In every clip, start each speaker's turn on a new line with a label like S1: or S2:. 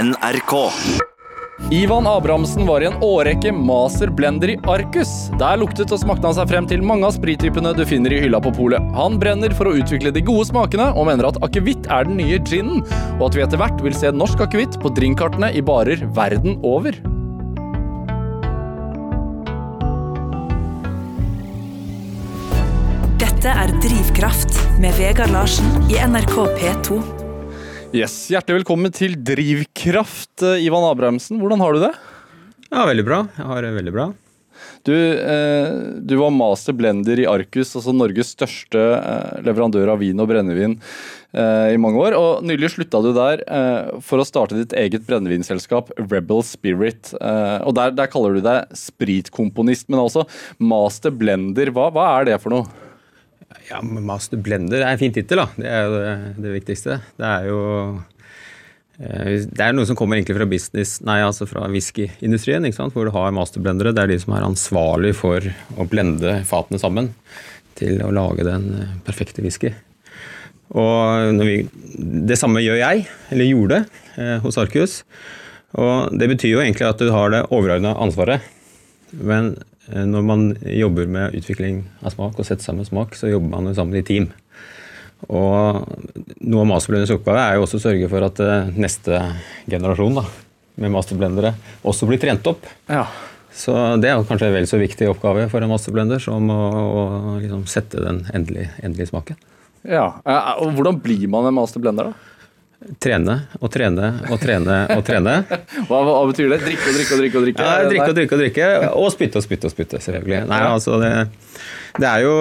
S1: NRK.
S2: Ivan Abrahamsen var i en årrekke master blender i Arcus. Der luktet og smakte han seg frem til mange av sprittypene du finner i hylla på polet. Han brenner for å utvikle de gode smakene, og mener at akevitt er den nye ginen, og at vi etter hvert vil se norsk akevitt på drinkkartene i barer verden over.
S3: Dette er Drivkraft med Vegard Larsen i NRK P2.
S2: Yes, Hjertelig velkommen til Drivkraft, eh, Ivan Abrahamsen. Hvordan har du det?
S4: Ja, veldig bra. Jeg har det veldig bra.
S2: Du, eh, du var master blender i Arcus, altså Norges største eh, leverandør av vin og brennevin eh, i mange år. Og nylig slutta du der eh, for å starte ditt eget brennevinselskap, Rebel Spirit. Eh, og der, der kaller du deg spritkomponist, men også master blender. Hva, hva er det for noe?
S4: Ja, men Master Blender er en fin tittel, da. Det er jo det, det viktigste. Det er jo eh, det er noe som kommer egentlig fra business, nei, altså fra whiskyindustrien, ikke sant? hvor du har masterblendere. Det er de som er ansvarlig for å blende fatene sammen til å lage den eh, perfekte whisky. Og når vi, det samme gjør jeg, eller gjorde, eh, hos Arcus. Og det betyr jo egentlig at du har det overordna ansvaret. Men eh, når man jobber med utvikling av smak og setter sammen smak, så jobber man jo sammen i team. Og noe av masterblenders oppgave er jo også å sørge for at eh, neste generasjon da, med masterblendere også blir trent opp.
S2: Ja.
S4: Så det er jo kanskje en vel så viktig oppgave for en masterblender som å, å liksom sette den endelige, endelige smaken.
S2: Eh, og hvordan blir man en master blender, da?
S4: Trene og trene og trene og trene.
S2: Hva, hva betyr det? Drikke og drikke og drikke? og drikke?
S4: Ja, drikke og drikke og drikke. Og spytte og spytte og spytte, selvfølgelig. Nei, altså, det, det er jo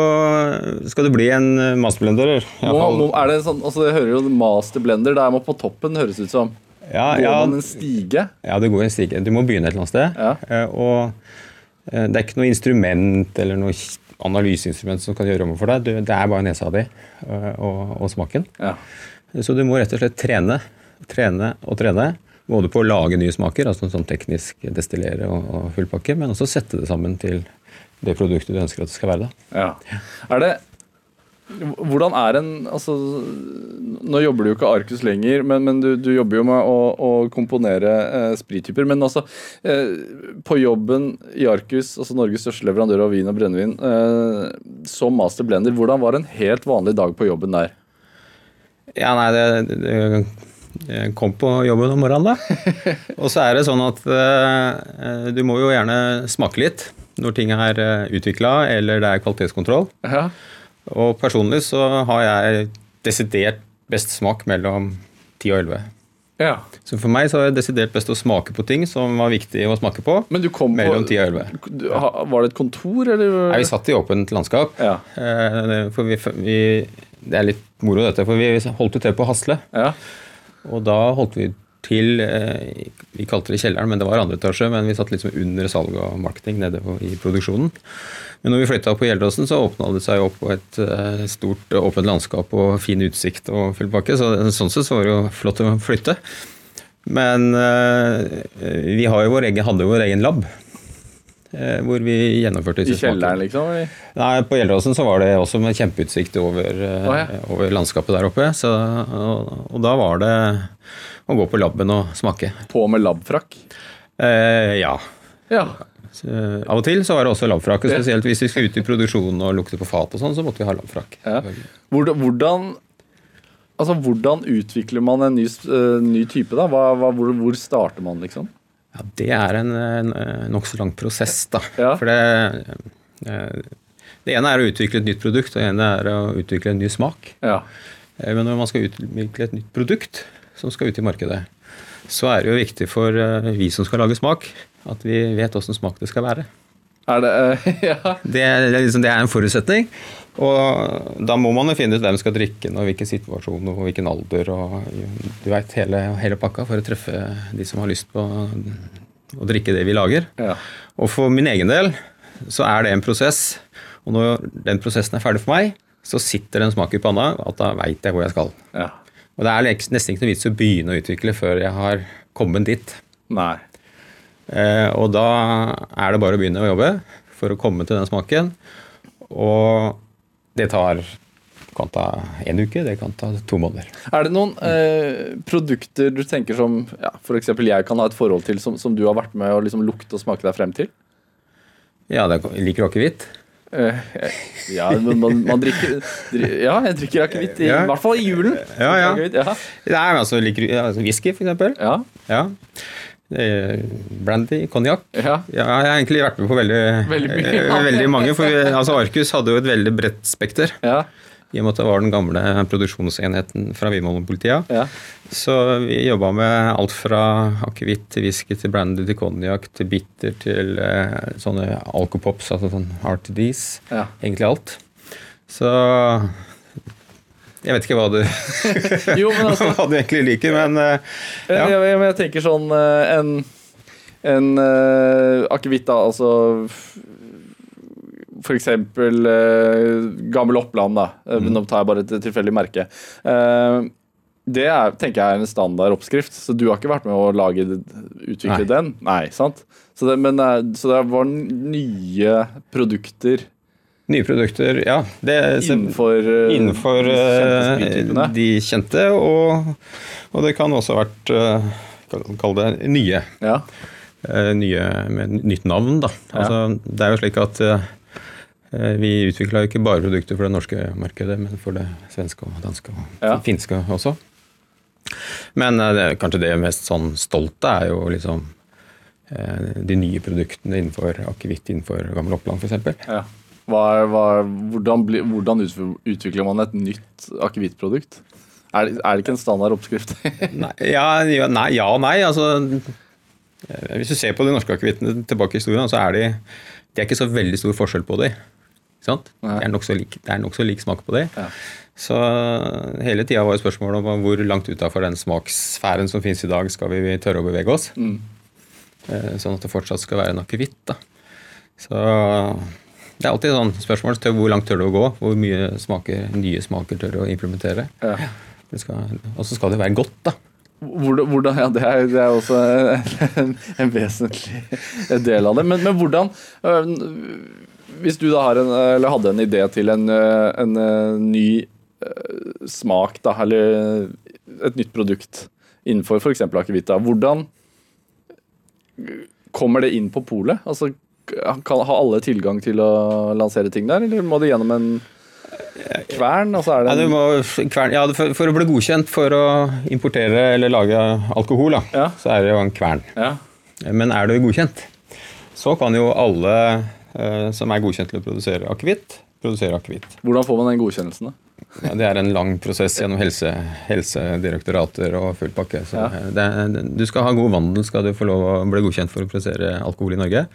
S4: Skal du bli en masterblender? i hvert
S2: Må,
S4: fall-
S2: må, er det en sånn, altså Jeg hører jo master blender, der må på toppen høres ut som.
S4: Ja,
S2: Går
S4: ja,
S2: man en stige?
S4: ja, det går en stige. Du må begynne et eller annet sted.
S2: Ja.
S4: Eh, Og eh, det er ikke noe instrument eller noe kj- analyseinstrument som kan gjøre rommet for deg. Du, det er bare nesa di eh, og, og smaken.
S2: Ja.
S4: Så du må rett og slett trene, trene og trene. Både på å lage nye smaker, altså sånn teknisk destillere og, og fullpakke, men også sette det sammen til det produktet du ønsker at det skal være. da.
S2: Ja. Er det Hvordan er en Altså, nå jobber du jo ikke Arcus lenger, men, men du, du jobber jo med å, å komponere eh, sprittyper. Men altså, eh, på jobben i Arcus, altså Norges største leverandør av vin og brennevin, eh, som master blender, hvordan var en helt vanlig dag på jobben der?
S4: Ja, nei, det, det jeg kom på jobben om morgenen, da. Og så er det sånn at eh, du må jo gjerne smake litt når ting er utvikla eller det er kvalitetskontroll.
S2: Ja.
S4: Og personlig så har jeg desidert best smak mellom 10 og 11.
S2: ja.
S4: Så for meg så er det desidert best å smake på ting som var viktig å smake på.
S2: Men du kom
S4: mellom
S2: på
S4: 10 og 11.
S2: du, ha, Var det et kontor, eller?
S4: Nei, vi satt i åpent landskap.
S2: Ja.
S4: Eh, For vi, vi, det er litt moro dette, for vi holdt jo til på Hasle.
S2: Ja.
S4: Og da holdt vi til eh, Vi kalte det kjelleren, men det var andre etasje. Men vi satt liksom under salg og marketing nede på, i produksjonen. Men når vi flytta på Gjeldåsen, så åpna det seg opp på et eh, stort åpent landskap og fin utsikt og full pakke. Så det- sånn sett så var det jo flott å flytte. Men eh, vi har jo vår egen, hadde jo vår egen lab. eh, Hvor vi gjennomførte
S2: I
S4: disse smakene.
S2: kjelleren, liksom? eller?
S4: Nei, På Gjeldåsen så var det også med kjempeutsikt over, eh,
S2: Å, ja.
S4: over landskapet der oppe. Så, og, og da var det å gå på laben og smake.
S2: På med labfrakk?
S4: Eh, ja.
S2: Ja.
S4: Så, eh, av og til så var det også labfrakk. og Spesielt hvis vi skulle ut i produksjonen og lukte på fat og sånn, så måtte vi ha labfrakk.
S2: Ja. Hvordan, hvordan Altså, hvordan utvikler man en ny, s- eh, ny type, da? Hva, hva, hvor, hvor starter man, liksom?
S4: Ja, det er en, en eh, nokså lang prosess, da.
S2: Ja.
S4: For det, eh, det ene er å utvikle et nytt produkt, og det ene er å utvikle en ny smak.
S2: Ja.
S4: Eh, Men når man skal utvikle et nytt produkt som skal ut i markedet, så er det jo viktig for eh, vi som skal lage smak, at vi vet åssen smak det skal være.
S2: Er det eh, Ja.
S4: Det, er- det er liksom, det er en forutsetning. Og da må man jo finne ut hvem skal drikke den, og hvilken situasjon og hvilken alder og du veit hele, hele pakka for å treffe de som har lyst på å drikke det vi lager.
S2: Ja.
S4: Og for min egen del så er det en prosess. Og når den prosessen er ferdig for meg, så sitter det en smak i panna at da veit jeg hvor jeg skal.
S2: ja.
S4: Og det er leks- nesten ikke noe vits å begynne å utvikle før jeg har kommet dit.
S2: Nei.
S4: Eh, og da er det bare å begynne å jobbe for å komme til den smaken. Og det tar kan ta én uke, det kan ta to måneder.
S2: Er det noen eh, produkter du tenker som ja, f.eks. jeg kan ha et forhold til, som, som du har vært med å liksom lukte og smake deg frem til?
S4: Ja, det liker akevitt.
S2: Eh, ja, men man, man drikker dri- Ja, jeg drikker akevitt, i,
S4: Ja.
S2: i hvert fall i julen.
S4: Ja, ja.
S2: Akevitt, ja.
S4: Nei, men altså, liker ja, altså, whisky, for eksempel.
S2: Ja,
S4: Ja. Eh, Brandy, konjakk.
S2: ja.
S4: Ja, jeg har egentlig vært med på veldig,
S2: Veldig mye.
S4: eh, veldig mange. For vi, altså Arcus hadde jo et veldig bredt spekter.
S2: ja,
S4: I og med at det var den gamle produksjonsenheten fra Vinmonopolitiet.
S2: ja.
S4: Så vi jobba med alt fra akevitt til whisky til brandy til konjakk til bitter til eh, sånne alkopops, altså sånn RTDs.
S2: Ja.
S4: Egentlig alt. Så jeg vet ikke hva du,
S2: Jo, men altså
S4: hva du egentlig liker, men eh,
S2: Ja.
S4: Ja.
S2: Jeg, jeg, men jeg tenker sånn eh, en, en eh, akevitt, da, altså f- for eksempel eh, Gammel Oppland, da. Eh,
S4: Mm.
S2: men Nå tar jeg bare et tilfeldig merke. Eh, det er, tenker jeg er en standard oppskrift, så du har ikke vært med å lage, utvikle
S4: Nei.
S2: den? Nei, sant? Så det, men, eh, så det var nye produkter
S4: nye produkter Ja. Det, så-
S2: innenfor, eh,
S4: Innenfor
S2: de kjente
S4: eh,
S2: sprittypene?
S4: de kjente, og, og det kan også ha vært eh, kall- Kall det nye.
S2: Ja.
S4: eh, nye med nytt navn, da. Altså, Det er jo slik at eh, eh, vi utvikla ikke bare produkter for det norske markedet, men for det svenske og danske og
S2: Ja.
S4: finske også. Men eh, det, kanskje det mest sånn stolte er jo liksom eh, de nye produktene innenfor akevitt innenfor Gammel Oppland, f.eks.
S2: ja. Hva er, hva er, hvordan, bli, hvordan utv- utvikler man et nytt akevittprodukt? Er, det- er det ikke en standard oppskrift?
S4: Nei, ja, ja, nei, ja og nei. Altså, eh, hvis du ser på de norske akevittene tilbake i historien, så er de, det er ikke så veldig stor forskjell på dem. Sant?
S2: Nei.
S4: Det er nokså lik, det er nok så lik smak på dem.
S2: Ja.
S4: Så hele tida var jo spørsmålet om hvor langt utafor den smakssfæren som fins i dag, skal vi tørre å bevege oss? Eh, Sånn at det fortsatt skal være en akevitt. da. Så det er alltid sånn spørsmål til hvor langt tør du å gå? Hvor mye smaker, nye smaker tør du å implementere?
S2: Ja.
S4: Det skal- Og så skal det være godt, da.
S2: Hvordan, hvordan, ja, det er, det er også en, en vesentlig del av det. Men, men hvordan øh, Hvis du da har en, eller hadde en idé til en, øh, en øh, ny øh, smak, da, eller et nytt produkt innenfor f.eks. akevitt, da, hvordan kommer det inn på polet? Altså, kan, har alle tilgang til å lansere ting der, eller må det gjennom en kvern? Altså, er
S4: Ja,
S2: det
S4: du
S2: en,
S4: må, kvern, ja for, for å bli godkjent for å importere eller lage alkohol, da,
S2: Ja.
S4: så er det jo en kvern.
S2: ja,
S4: Men er du godkjent, så kan jo alle eh, som er godkjent til å produsere akevitt, produsere akevitt.
S2: hvordan får man den godkjennelsen? da?
S4: Ja, det er en lang prosess gjennom helse, helsedirektorater og full pakke. Så
S2: Ja.
S4: eh, det, er- du skal ha god vandel skal du få lov å bli godkjent for å produsere alkohol i Norge.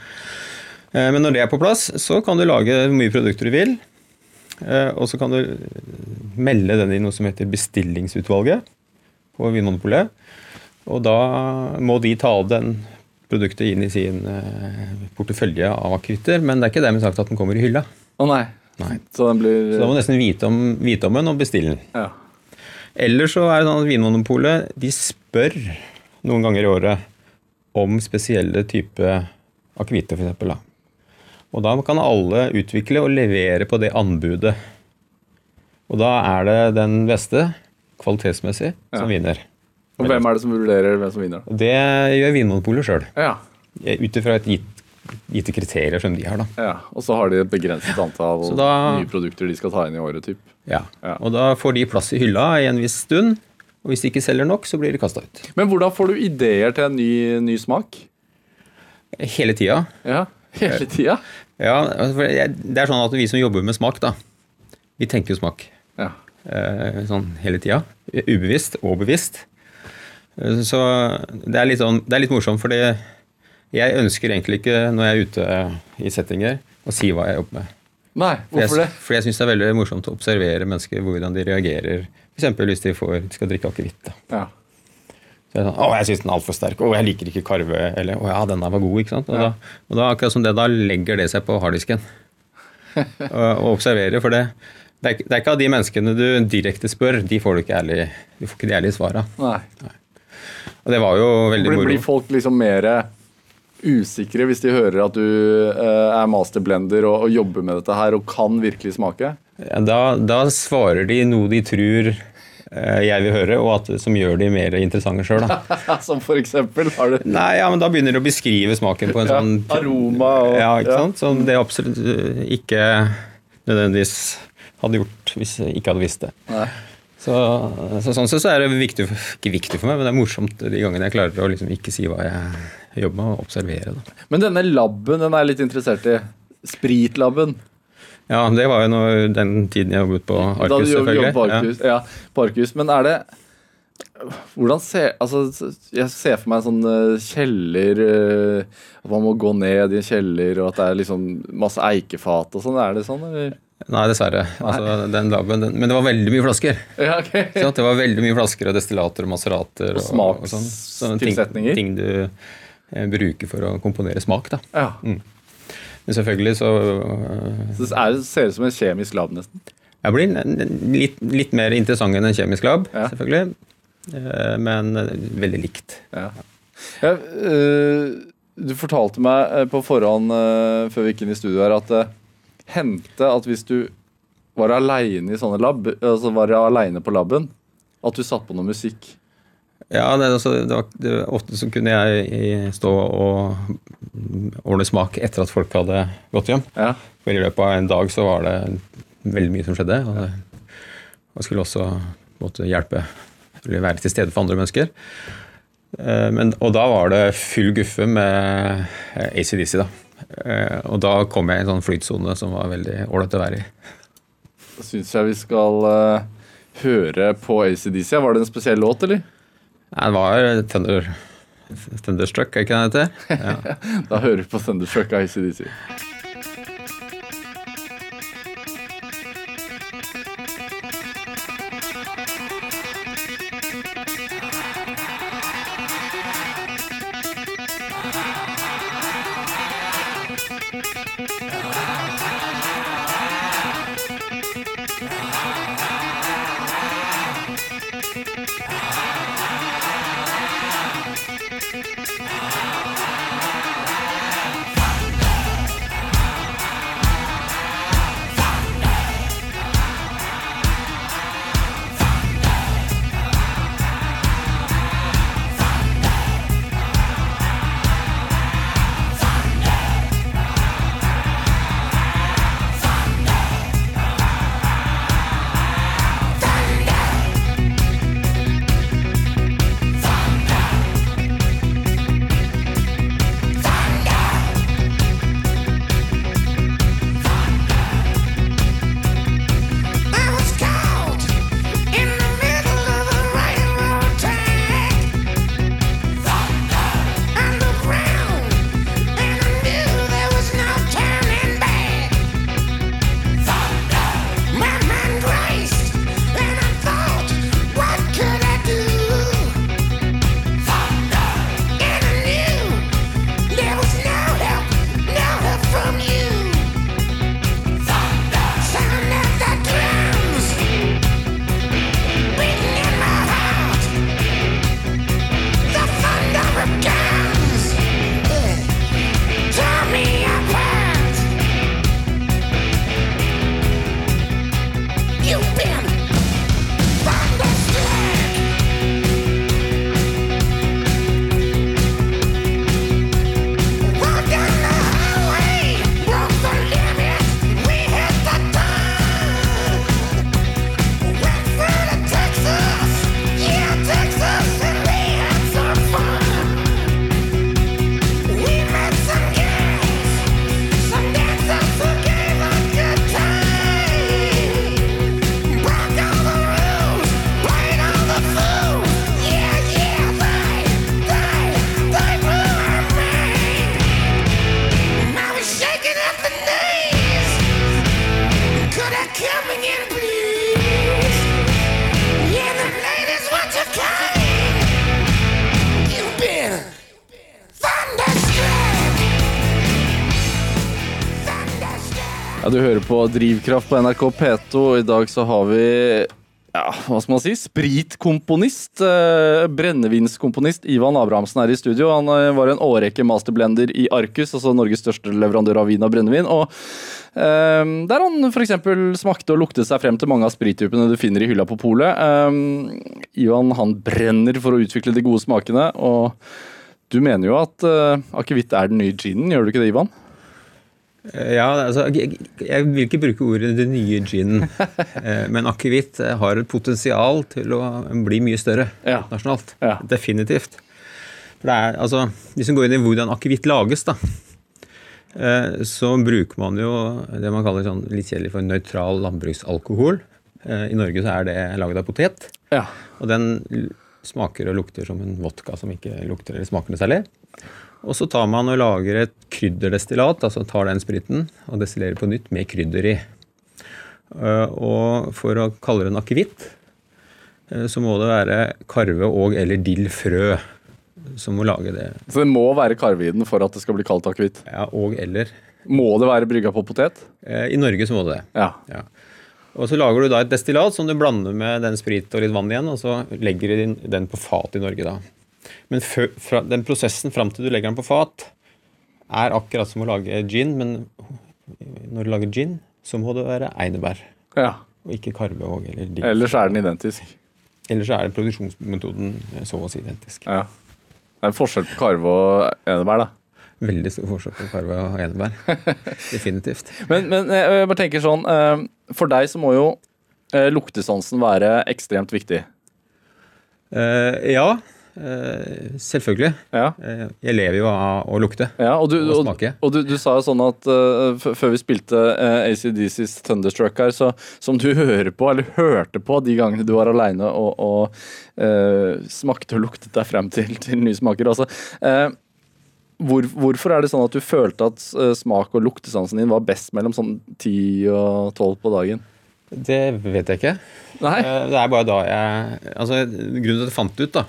S4: Eh, Men når det er på plass, så kan du lage hvor mye produkter du vil. Eh, Og så kan du melde den i noe som heter bestillingsutvalget på Vinmonopolet. Og da må de ta den produktet inn i sin eh, portefølje av akevitter, men det er ikke dermed sagt at den kommer i hylla.
S2: Å nei.
S4: Nei.
S2: Så den blir
S4: Så da må du nesten vite om, vite om den og bestille den.
S2: Ja.
S4: Eller så er det sånn at Vinmonopolet de spør noen ganger i året om spesielle type akevitter, f.eks. Og da kan alle utvikle og levere på det anbudet. Og da er det den beste, kvalitetsmessig, som vinner.
S2: Og hvem er det som vurderer hvem som vinner? da?
S4: Det gjør Vinmonopolet sjøl,
S2: Ja.
S4: ut ifra et gitt, gitte kriterier som de har. da.
S2: ja. Og så har de et begrenset antall
S4: Så da-
S2: nye produkter de skal ta inn i året, typ.
S4: Ja.
S2: Ja.
S4: Og da får de plass i hylla i en viss stund, og hvis de ikke selger nok, så blir de kasta ut.
S2: Men hvordan får du ideer til en ny, ny smak?
S4: Hele tida.
S2: Ja. Hele tida?
S4: Ja, altså, for jeg- det er sånn at vi som jobber med smak, da, vi tenker jo smak
S2: Ja.
S4: eh, sånn hele tida. Ubevisst og bevisst. Eh, Så det er litt, sånn, det er litt morsomt, fordi jeg ønsker egentlig ikke, når jeg er ute i settinger, å si hva jeg jobber med.
S2: Nei,
S4: For jeg,
S2: hvorfor det?
S4: Fordi jeg syns det er veldig morsomt å observere mennesker, hvordan de reagerer. F.eks. hvis de får, de skal drikke akevitt. da.
S2: Ja.
S4: Så er det sånn, Å, jeg syns den er altfor sterk. Å, jeg liker ikke karve. Eller å ja, den der var god. ikke sant? Og, da, og da, akkurat som det, da legger det seg på harddisken. og, og observerer. For det, det, er, ikke- det er ikke av de menneskene du direkte spør, de får du ikke ærlig, du får ikke de ærlige svara.
S2: Nei.
S4: Og det var jo veldig
S2: Blir,
S4: moro.
S2: blir folk liksom mer usikre hvis de hører at du eh, er masterblender og, og jobber med dette her og kan virkelig smake?
S4: Ja, da, da svarer de noe de tror eh, jeg vil høre, og at, som gjør de mer interessante sjøl.
S2: Som for eksempel har du
S4: Nei, ja, men da begynner de å beskrive smaken på en
S2: ja,
S4: sånn
S2: aroma og
S4: Ja, ikke
S2: ja.
S4: sant? Som det absolutt eh, ikke nødvendigvis hadde gjort hvis jeg ikke hadde visst det.
S2: Nei.
S4: Så, så sånn sett så er det viktig, for- ikke viktig for meg, men det er morsomt de gangene jeg klarer å liksom ikke si hva jeg jobber med, og observere. Da.
S2: Men denne labben den er jeg litt interessert i. Spritlabben.
S4: Ja, det var jo når, den tiden jeg jobbet på
S2: Da du
S4: Arkus,
S2: jobbet
S4: selvfølgelig.
S2: på Arkus. Ja. på Arkus. Men er det Hvordan ser Altså, jeg ser for meg en sånn eh, kjeller eh, At man må gå ned i en kjeller, og at det er liksom masse eikefat og sånn. Er det sånn, eller?
S4: Ja. Nei, dessverre. Altså, den laben, den, men det var veldig mye flasker.
S2: Ja, ok.
S4: Ikke sant? Det var veldig mye flasker og destillater og macerater.
S2: Og
S4: sånn. Sånne
S2: smakstilsetninger.
S4: Ting, ting du eh, bruker for å komponere smak, da.
S2: Ja.
S4: Men selvfølgelig så øh,
S2: Så det er, ser ut som en kjemisk lab, nesten.
S4: Jeg blir en- en litt, litt mer interessant enn en kjemisk lab,
S2: Ja.
S4: selvfølgelig. Eh, Men eh, veldig likt.
S2: Ja. Ja, øh, du fortalte meg eh, på forhånd eh, før vi gikk inn i studio her, at det hendte at hvis du var aleine i sånne lab, altså var alene på laben, at du satt på noe musikk.
S4: Ja, det, er altså, det var, det, Ofte så kunne jeg i- stå og ordne smak etter at folk hadde gått hjem.
S2: Ja.
S4: For I løpet av en dag så var det veldig mye som skjedde. Og det- og skulle også måtte hjelpe eller være til stede for andre mennesker. Eh, Men, og da var det full guffe med eh, ACDC, da. Eh, Og da kom jeg i en sånn flytsone som var veldig ålreit å være i.
S2: Da syns jeg vi skal eh, høre på ACDC. Var det en spesiell låt, eller?
S4: Nei, det var Thunder, Thunderstruck, er ikke det det heter?
S2: Da hører vi på Thunderstruck av ACDC.
S1: I was caught in the middle of a railroad track. Underground, and I knew there was no turning back. My mind raced, and I thought, what could I do? And I knew there was no help, no help from you. Sound of the drums, beating in my heart. The thunder of guns tore me apart. You've been thunderstruck. Walked down the highway, broke the limit. We hit the town. Went through to Texas, yeah Texas, and we had some fun. We met some guys, some dancers who gave us good time. Broke all the rules, played all the fools. Yeah, yeah, they, they, they blew our mind. I was shaking at the knees. Could I come again, please? Yeah, the ladies want your kind. You've been thunderstruck. Thunderstruck.
S2: Ja, Du hører på Drivkraft på NRK P2, og i dag så har vi ja, hva skal man si, spritkomponist, eh, brennevinskomponist Ivan Abrahamsen er i studio. Han eh, var en årrekke masterblender i Arcus, altså Norges største leverandør av vin og brennevin. Og eh, der han f.eks. smakte og luktet seg frem til mange av sprittypene du finner i hylla på polet. Eh, Ivan han brenner for å utvikle de gode smakene, og du mener jo at eh, akevitt er den nye ginen, gjør du ikke det, Ivan?
S4: Eh, Ja, altså, jeg, jeg vil ikke bruke ordet 'den nye ginen', eh, men akevitt eh, har et potensial til å bli mye større
S2: Ja.
S4: internasjonalt.
S2: Ja.
S4: Definitivt. For det er, altså, hvis man går inn i hvordan akevitt lages, da, eh, så bruker man jo det man kaller sånn litt kjedelig for nøytral landbruksalkohol. Eh, I Norge så er det laget av potet.
S2: Ja.
S4: Og den l- smaker og lukter som en vodka som ikke lukter eller smaker noe særlig. Og så tar man og lager et krydderdestillat, altså tar den spriten og destillerer på nytt med krydder i. Eh, Og for å kalle det en akevitt, eh, så må det være karve og eller dill frø som må lage det.
S2: Så det må være karve i den for at det skal bli kalt akevitt.
S4: Ja, og eller.
S2: Må det være brygga på potet?
S4: Eh, I Norge så må det det.
S2: Ja.
S4: Ja. Og så lager du da et destillat som du blander med den sprit og litt vann igjen, og så legger du din- den på fat i Norge da. Men fø- fra, den prosessen fram til du legger den på fat, er akkurat som å lage gin, men når du lager gin, så må det være einebær,
S2: ja.
S4: og ikke karvevåg eller dill.
S2: Ellers er den identisk.
S4: Ellers så er det produksjonsmetoden eh, så å si identisk.
S2: Ja. Det er en forskjell på karve og enebær, da.
S4: Veldig stor forskjell på karve og einebær. Definitivt.
S2: Men, men eh, jeg bare tenker sånn, eh, for deg så må jo eh, luktesansen være ekstremt viktig.
S4: Eh, ja, eh, selvfølgelig.
S2: Ja.
S4: Eh, jeg lever jo av å lukte.
S2: Ja, og du, og,
S4: Og smake.
S2: og du, du sa jo sånn at eh, f- før vi spilte eh, ACDCs Thunderstruck her, så, som du hører på, eller hørte på de gangene du var aleine og, og eh, smakte og luktet deg frem til, til nye smaker. Altså, eh, hvor, hvorfor er det sånn at du følte at eh, smak- og luktesansen din var best mellom sånn 10 og 12 på dagen?
S4: Det vet jeg ikke.
S2: Nei?
S4: Eh, Det er bare da jeg Altså, grunnen til at jeg fant det ut, da,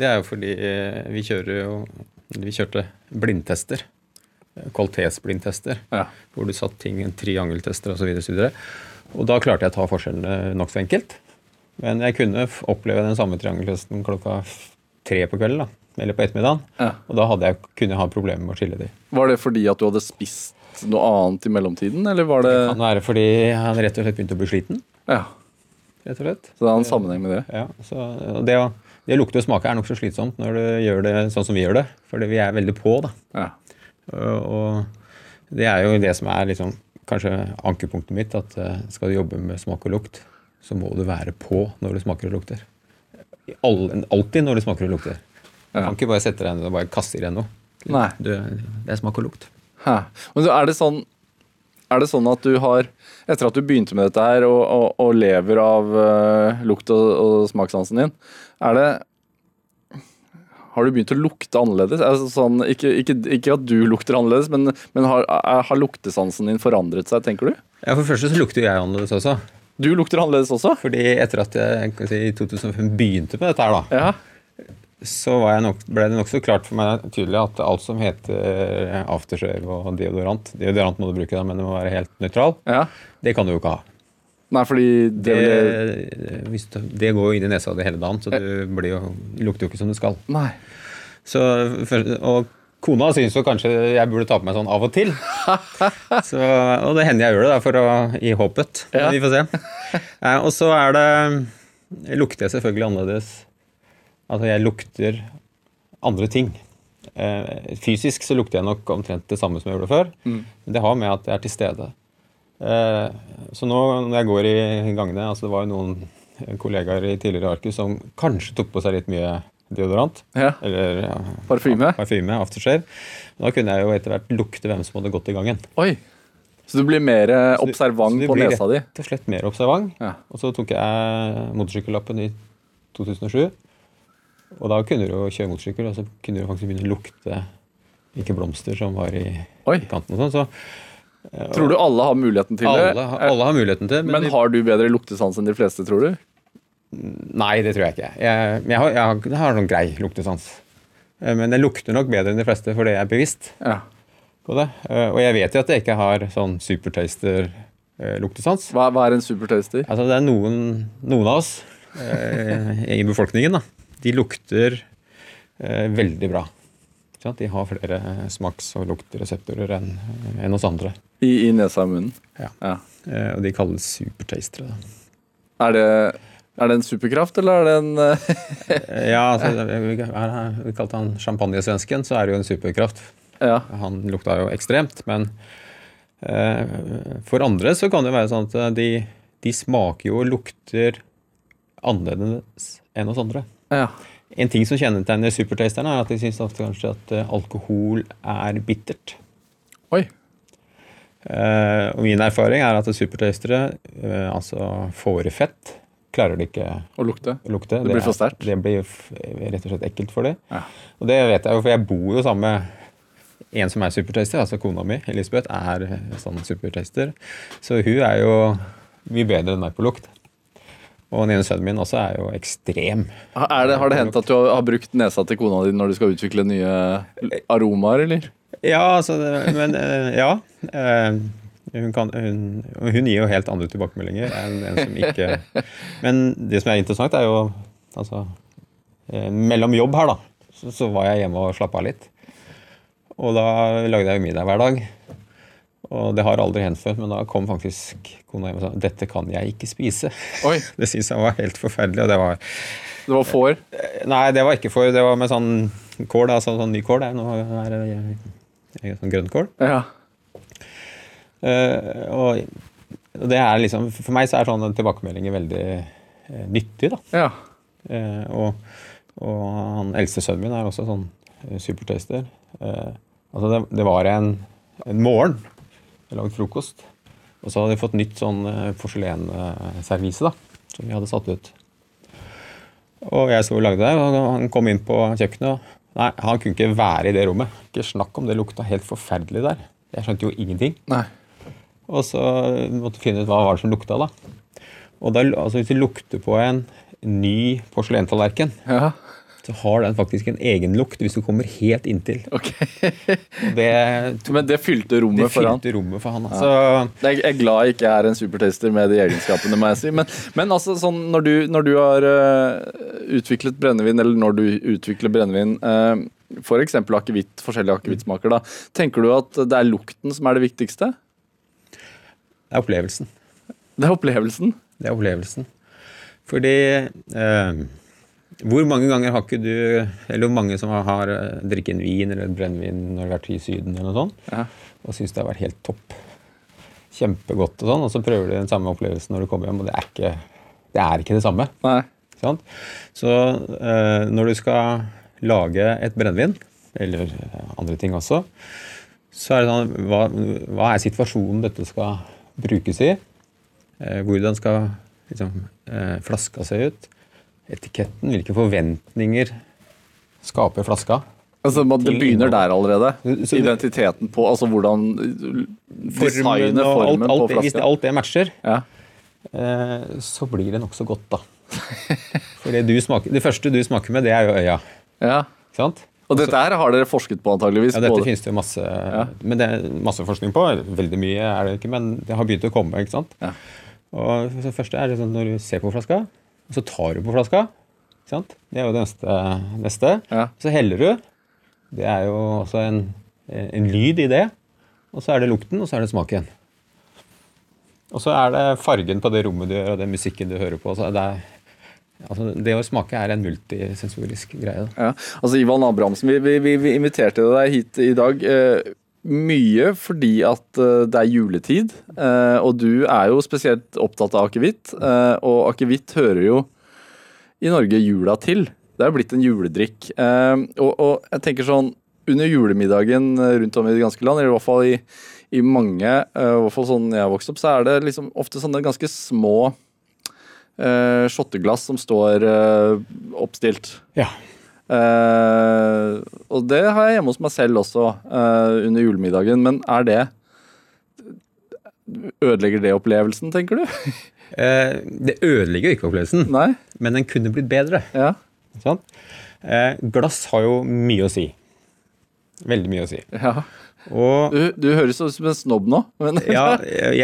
S4: det er jo fordi eh, vi kjører jo Vi kjørte blindtester. eh, Kvalitetsblindtester.
S2: Ja.
S4: Hvor du satt ting i triangeltester osv. Og, så videre. og da klarte jeg å ta forskjellene nokså enkelt. Men jeg kunne f- oppleve den samme triangeltesten klokka f- tre på kvelden. da, Eller på ettermiddagen.
S2: Ja.
S4: Og da hadde jeg, kunne jeg ha problemer med å skille de.
S2: Var det fordi at du hadde spist noe annet i mellomtiden, eller var det
S4: Kan være fordi han rett og slett begynte å bli sliten.
S2: Ja,
S4: rett og slett.
S2: så det har en sammenheng med det.
S4: Ja, så, og det, å- det å lukte og smake er nokså slitsomt når du gjør det sånn som vi gjør det. Fordi vi er veldig på, da.
S2: Ja.
S4: Og det er jo det som er liksom, kanskje ankepunktet mitt. At eh, skal du jobbe med smak og lukt, så må du være på når du smaker og lukter. I all- Alltid når du smaker og lukter. Du kan ikke bare sette deg ned og bare kaste i deg noe.
S2: Nei.
S4: Du, det er smak og lukt.
S2: Hæ. Men du, er det sånn er det sånn at du har, etter at du begynte med dette her og, og, og lever av eh, lukt og, og smakssansen din, er det Har du begynt å lukte annerledes? Altså sånn, ikke, ikke, ikke at du lukter annerledes, men, men har, er, har luktesansen din forandret seg, tenker du?
S4: Ja, For det første så lukter jo jeg annerledes også.
S2: Du lukter annerledes også?
S4: Fordi etter at jeg kan si, i 2005 begynte med dette her, da,
S2: Ja.
S4: så var jeg nok, ble det nokså klart for meg tydelig at alt som heter eh, aftershave og deodorant Deodorant må du bruke, da, men det må være helt nøytral.
S2: ja.
S4: Det kan du jo ikke ha.
S2: Nei, fordi
S4: Det,
S2: det ville
S4: hvis du, det går jo inn i nesa di hele dagen, så du blir jo, lukter jo ikke som det skal.
S2: Nei.
S4: Så, for, og kona syns jo kanskje jeg burde ta på meg sånn av og til. Så, og det hender jeg gjør det, da, for å, i håpet.
S2: Ja.
S4: Vi får se. Eh, og så er det lukter jeg selvfølgelig annerledes. Altså, jeg lukter andre ting. Eh, fysisk så lukter jeg nok omtrent det samme som jeg gjorde før. Men det har med at jeg er til stede. Eh, Så nå når jeg går i gangene altså Det var jo noen kollegaer i tidligere Arkus som kanskje tok på seg litt mye deodorant.
S2: Ja.
S4: Eller ja,
S2: Parfyme?
S4: parfyme, aftershave. Da kunne jeg jo etter hvert lukte hvem som hadde gått i gangen.
S2: Oi. Så du blir mer eh, observant
S4: Så det
S2: på
S4: blir
S2: nesa di?
S4: Rett og slett mer observant.
S2: Ja.
S4: Og så tok jeg motorsykkellappen i 2007. Og da kunne du jo kjøre motorsykkel, og så kunne du faktisk begynne å lukte ikke blomster som var i,
S2: Oi.
S4: i kanten og sånn. Så
S2: Tror du alle har muligheten til det?
S4: alle, alle har muligheten til det.
S2: Men
S4: vi-
S2: har du bedre luktesans enn de fleste, tror du?
S4: Nei, det tror jeg ikke. Jeg, men jeg, har, jeg, har, jeg har sånn grei luktesans. Eh, Men den lukter nok bedre enn de fleste fordi jeg er bevisst
S2: Ja.
S4: på det. Eh, Og jeg vet jo at jeg ikke har sånn supertaster eh, luktesans.
S2: Hva, hva er en supertaster?
S4: Altså, det er noen, noen av oss eh, i befolkningen, da. De lukter eh, veldig bra. Ikke sant? De har flere eh, smaks- og luktreseptorer enn enn oss andre.
S2: I, i nesa og munnen?
S4: Ja. Eh, og de kalles supertastere. Da.
S2: Er, det, er det en superkraft, eller er det en eh,
S4: Eh, Ja, altså, det- vi- her har vi kalte han champagnesvensken, så er det jo en superkraft.
S2: Ja.
S4: Han lukta jo ekstremt, men eh, for andre så kan det være sånn at de, de smaker jo og lukter annerledes enn oss andre.
S2: ja.
S4: En ting som kjennetegner supertasterne, er at de syns ofte kanskje at eh, alkohol er bittert.
S2: Oi.
S4: Eh, og min erfaring er at supertastere, eh, altså fårefett, klarer de ikke
S2: Å lukte.
S4: å lukte.
S2: Det blir
S4: er-
S2: for sterkt.
S4: Det blir f- rett og slett ekkelt for dem.
S2: Ja.
S4: Og det vet jeg jo, for jeg bor jo sammen med en som er supertaster, altså kona mi, Elisabeth, er eh, sånn supertaster. Så hun er jo mye bedre enn meg på lukt. Og den ene sønnen min også er jo ekstrem.
S2: Ha- Er det, har det hendt at du har, har brukt nesa til kona di når du skal utvikle nye l- aromaer, eller?
S4: Ja, altså, det- men eh, ja. eh, Hun, kan, hun, og hun gir jo helt andre tilbakemeldinger enn en som ikke Men det som er interessant, er jo altså eh, Mellom jobb her, da, så, så var jeg hjemme og slappa av litt. Og da lagde jeg jo middag hver dag. Og det har aldri hendt før, men da kom faktisk kona hjem og sa dette kan jeg ikke spise.
S2: Oi.
S4: Det syntes jeg var helt forferdelig. og det var...
S2: Det var får.
S4: Nei, det var ikke for Det var med sånn kål, da, sånn, sånn ny kål. Det er noe er, er, sånn grønnkål.
S2: Ja.
S4: Eh, og og det er liksom For meg så er sånne tilbakemeldinger veldig eh, nyttig, da.
S2: ja.
S4: Eh, og, og han eldste sønnen min er også sånn eh, supertaster. Eh, altså det, det var en, en morgen jeg lagde frokost, og så hadde jeg fått nytt sånn eh, porselenservise da, som vi hadde satt ut. Og jeg sto og lagde der, og han kom inn på kjøkkenet. og Nei, han kunne ikke være i det rommet. Ikke snakk om det lukta helt forferdelig der. Jeg skjønte jo ingenting.
S2: Nei.
S4: Og så måtte vi finne ut hva var det som lukta, da. Og da, altså Hvis du lukter på en ny porselentallerken,
S2: Ja.
S4: så har den faktisk en egenlukt hvis du kommer helt inntil.
S2: Ok.
S4: Og det,
S2: Men det fylte rommet
S4: det
S2: for han.
S4: fylte rommet for han. Altså.
S2: Jeg jeg er glad jeg ikke er en supertaster med de egenskapene, må jeg si. Men, men altså, sånn, når, du, når du har eh, utviklet brennevin, eller når du utvikler brennevin, uh, f.eks. akevitt, forskjellige akevittsmaker, da, tenker du at det er lukten som er det viktigste?
S4: Det er opplevelsen.
S2: Det er opplevelsen?
S4: Det er opplevelsen. Fordi eh, Hvor mange ganger har ikke du Eller hvor mange som har, har eh, drikket en vin eller en brennevin når du har vært i Syden eller noe sånt,
S2: Ja.
S4: og syns det har vært helt topp. Kjempegodt og sånn, og så prøver du den samme opplevelsen når du kommer hjem, og det er ikke det, er ikke det samme.
S2: Nei.
S4: Ikke sant? Så eh, når du skal lage et brennevin, eller eh, andre ting også, så er det sånn Hva, hva er situasjonen dette skal brukes i? Eh, hvordan skal liksom, eh, flaska se ut? Etiketten? Hvilke forventninger skaper flaska?
S2: Altså, man, Det
S4: Til
S2: begynner
S4: innhold.
S2: der allerede.
S4: Mm. Så-
S2: Identiteten på Altså hvordan eh,
S4: Formen
S2: designet
S4: og alt,
S2: formen
S4: alt,
S2: på
S4: det- Hvis det,
S2: flaska.
S4: alt det matcher,
S2: Ja.
S4: eh, så blir det nokså godt, da. For det, du smaker, det første du smaker med, det er jo øya.
S2: ja.
S4: Ikke sant?
S2: Og dette her har dere forsket på, antageligvis.
S4: Ja, dette
S2: både-
S4: finnes det jo masse, men det er masse forskning på. Veldig mye er det ikke, men det har begynt å komme. ikke sant?
S2: Ja.
S4: Og så det første er det sånn når du ser på flaska, og så tar du på flaska. ikke sant? Det er jo det neste. neste.
S2: Ja.
S4: Så heller du. Det er jo også en, en lyd i det. Og så er det lukten, og så er det smaken. Og så er det fargen på det rommet du gjør, og den musikken du hører på. Så det, er, altså, det å smake er en multisensorisk greie. da.
S2: Ja. Altså, Ivan Abrahamsen, vi, vi, vi, vi inviterte deg hit i dag. Eh, mye fordi at eh, det er juletid, eh, og du er jo spesielt opptatt av akevitt. Eh, og akevitt hører jo i Norge jula til. Det er jo blitt en juledrikk. Eh, og, og jeg tenker sånn, under julemiddagen eh, rundt om i det ganske land, eller i hvert fall i, i mange, eh, i hvert fall sånn jeg har vokst opp, så er det liksom ofte sånne ganske små eh, shotteglass som står eh, oppstilt.
S4: Ja.
S2: Eh, og det har jeg hjemme hos meg selv også eh, under julemiddagen, men er det Ødelegger det opplevelsen, tenker du?
S4: Eh, det ødelegger jo ikke opplevelsen.
S2: Nei?
S4: men den kunne blitt bedre.
S2: Ja.
S4: Ikke sant? Eh, glass har jo mye å si. Veldig mye å si.
S2: Ja.
S4: Og
S2: Du, du høres ut som en snobb nå, men
S4: ja, jeg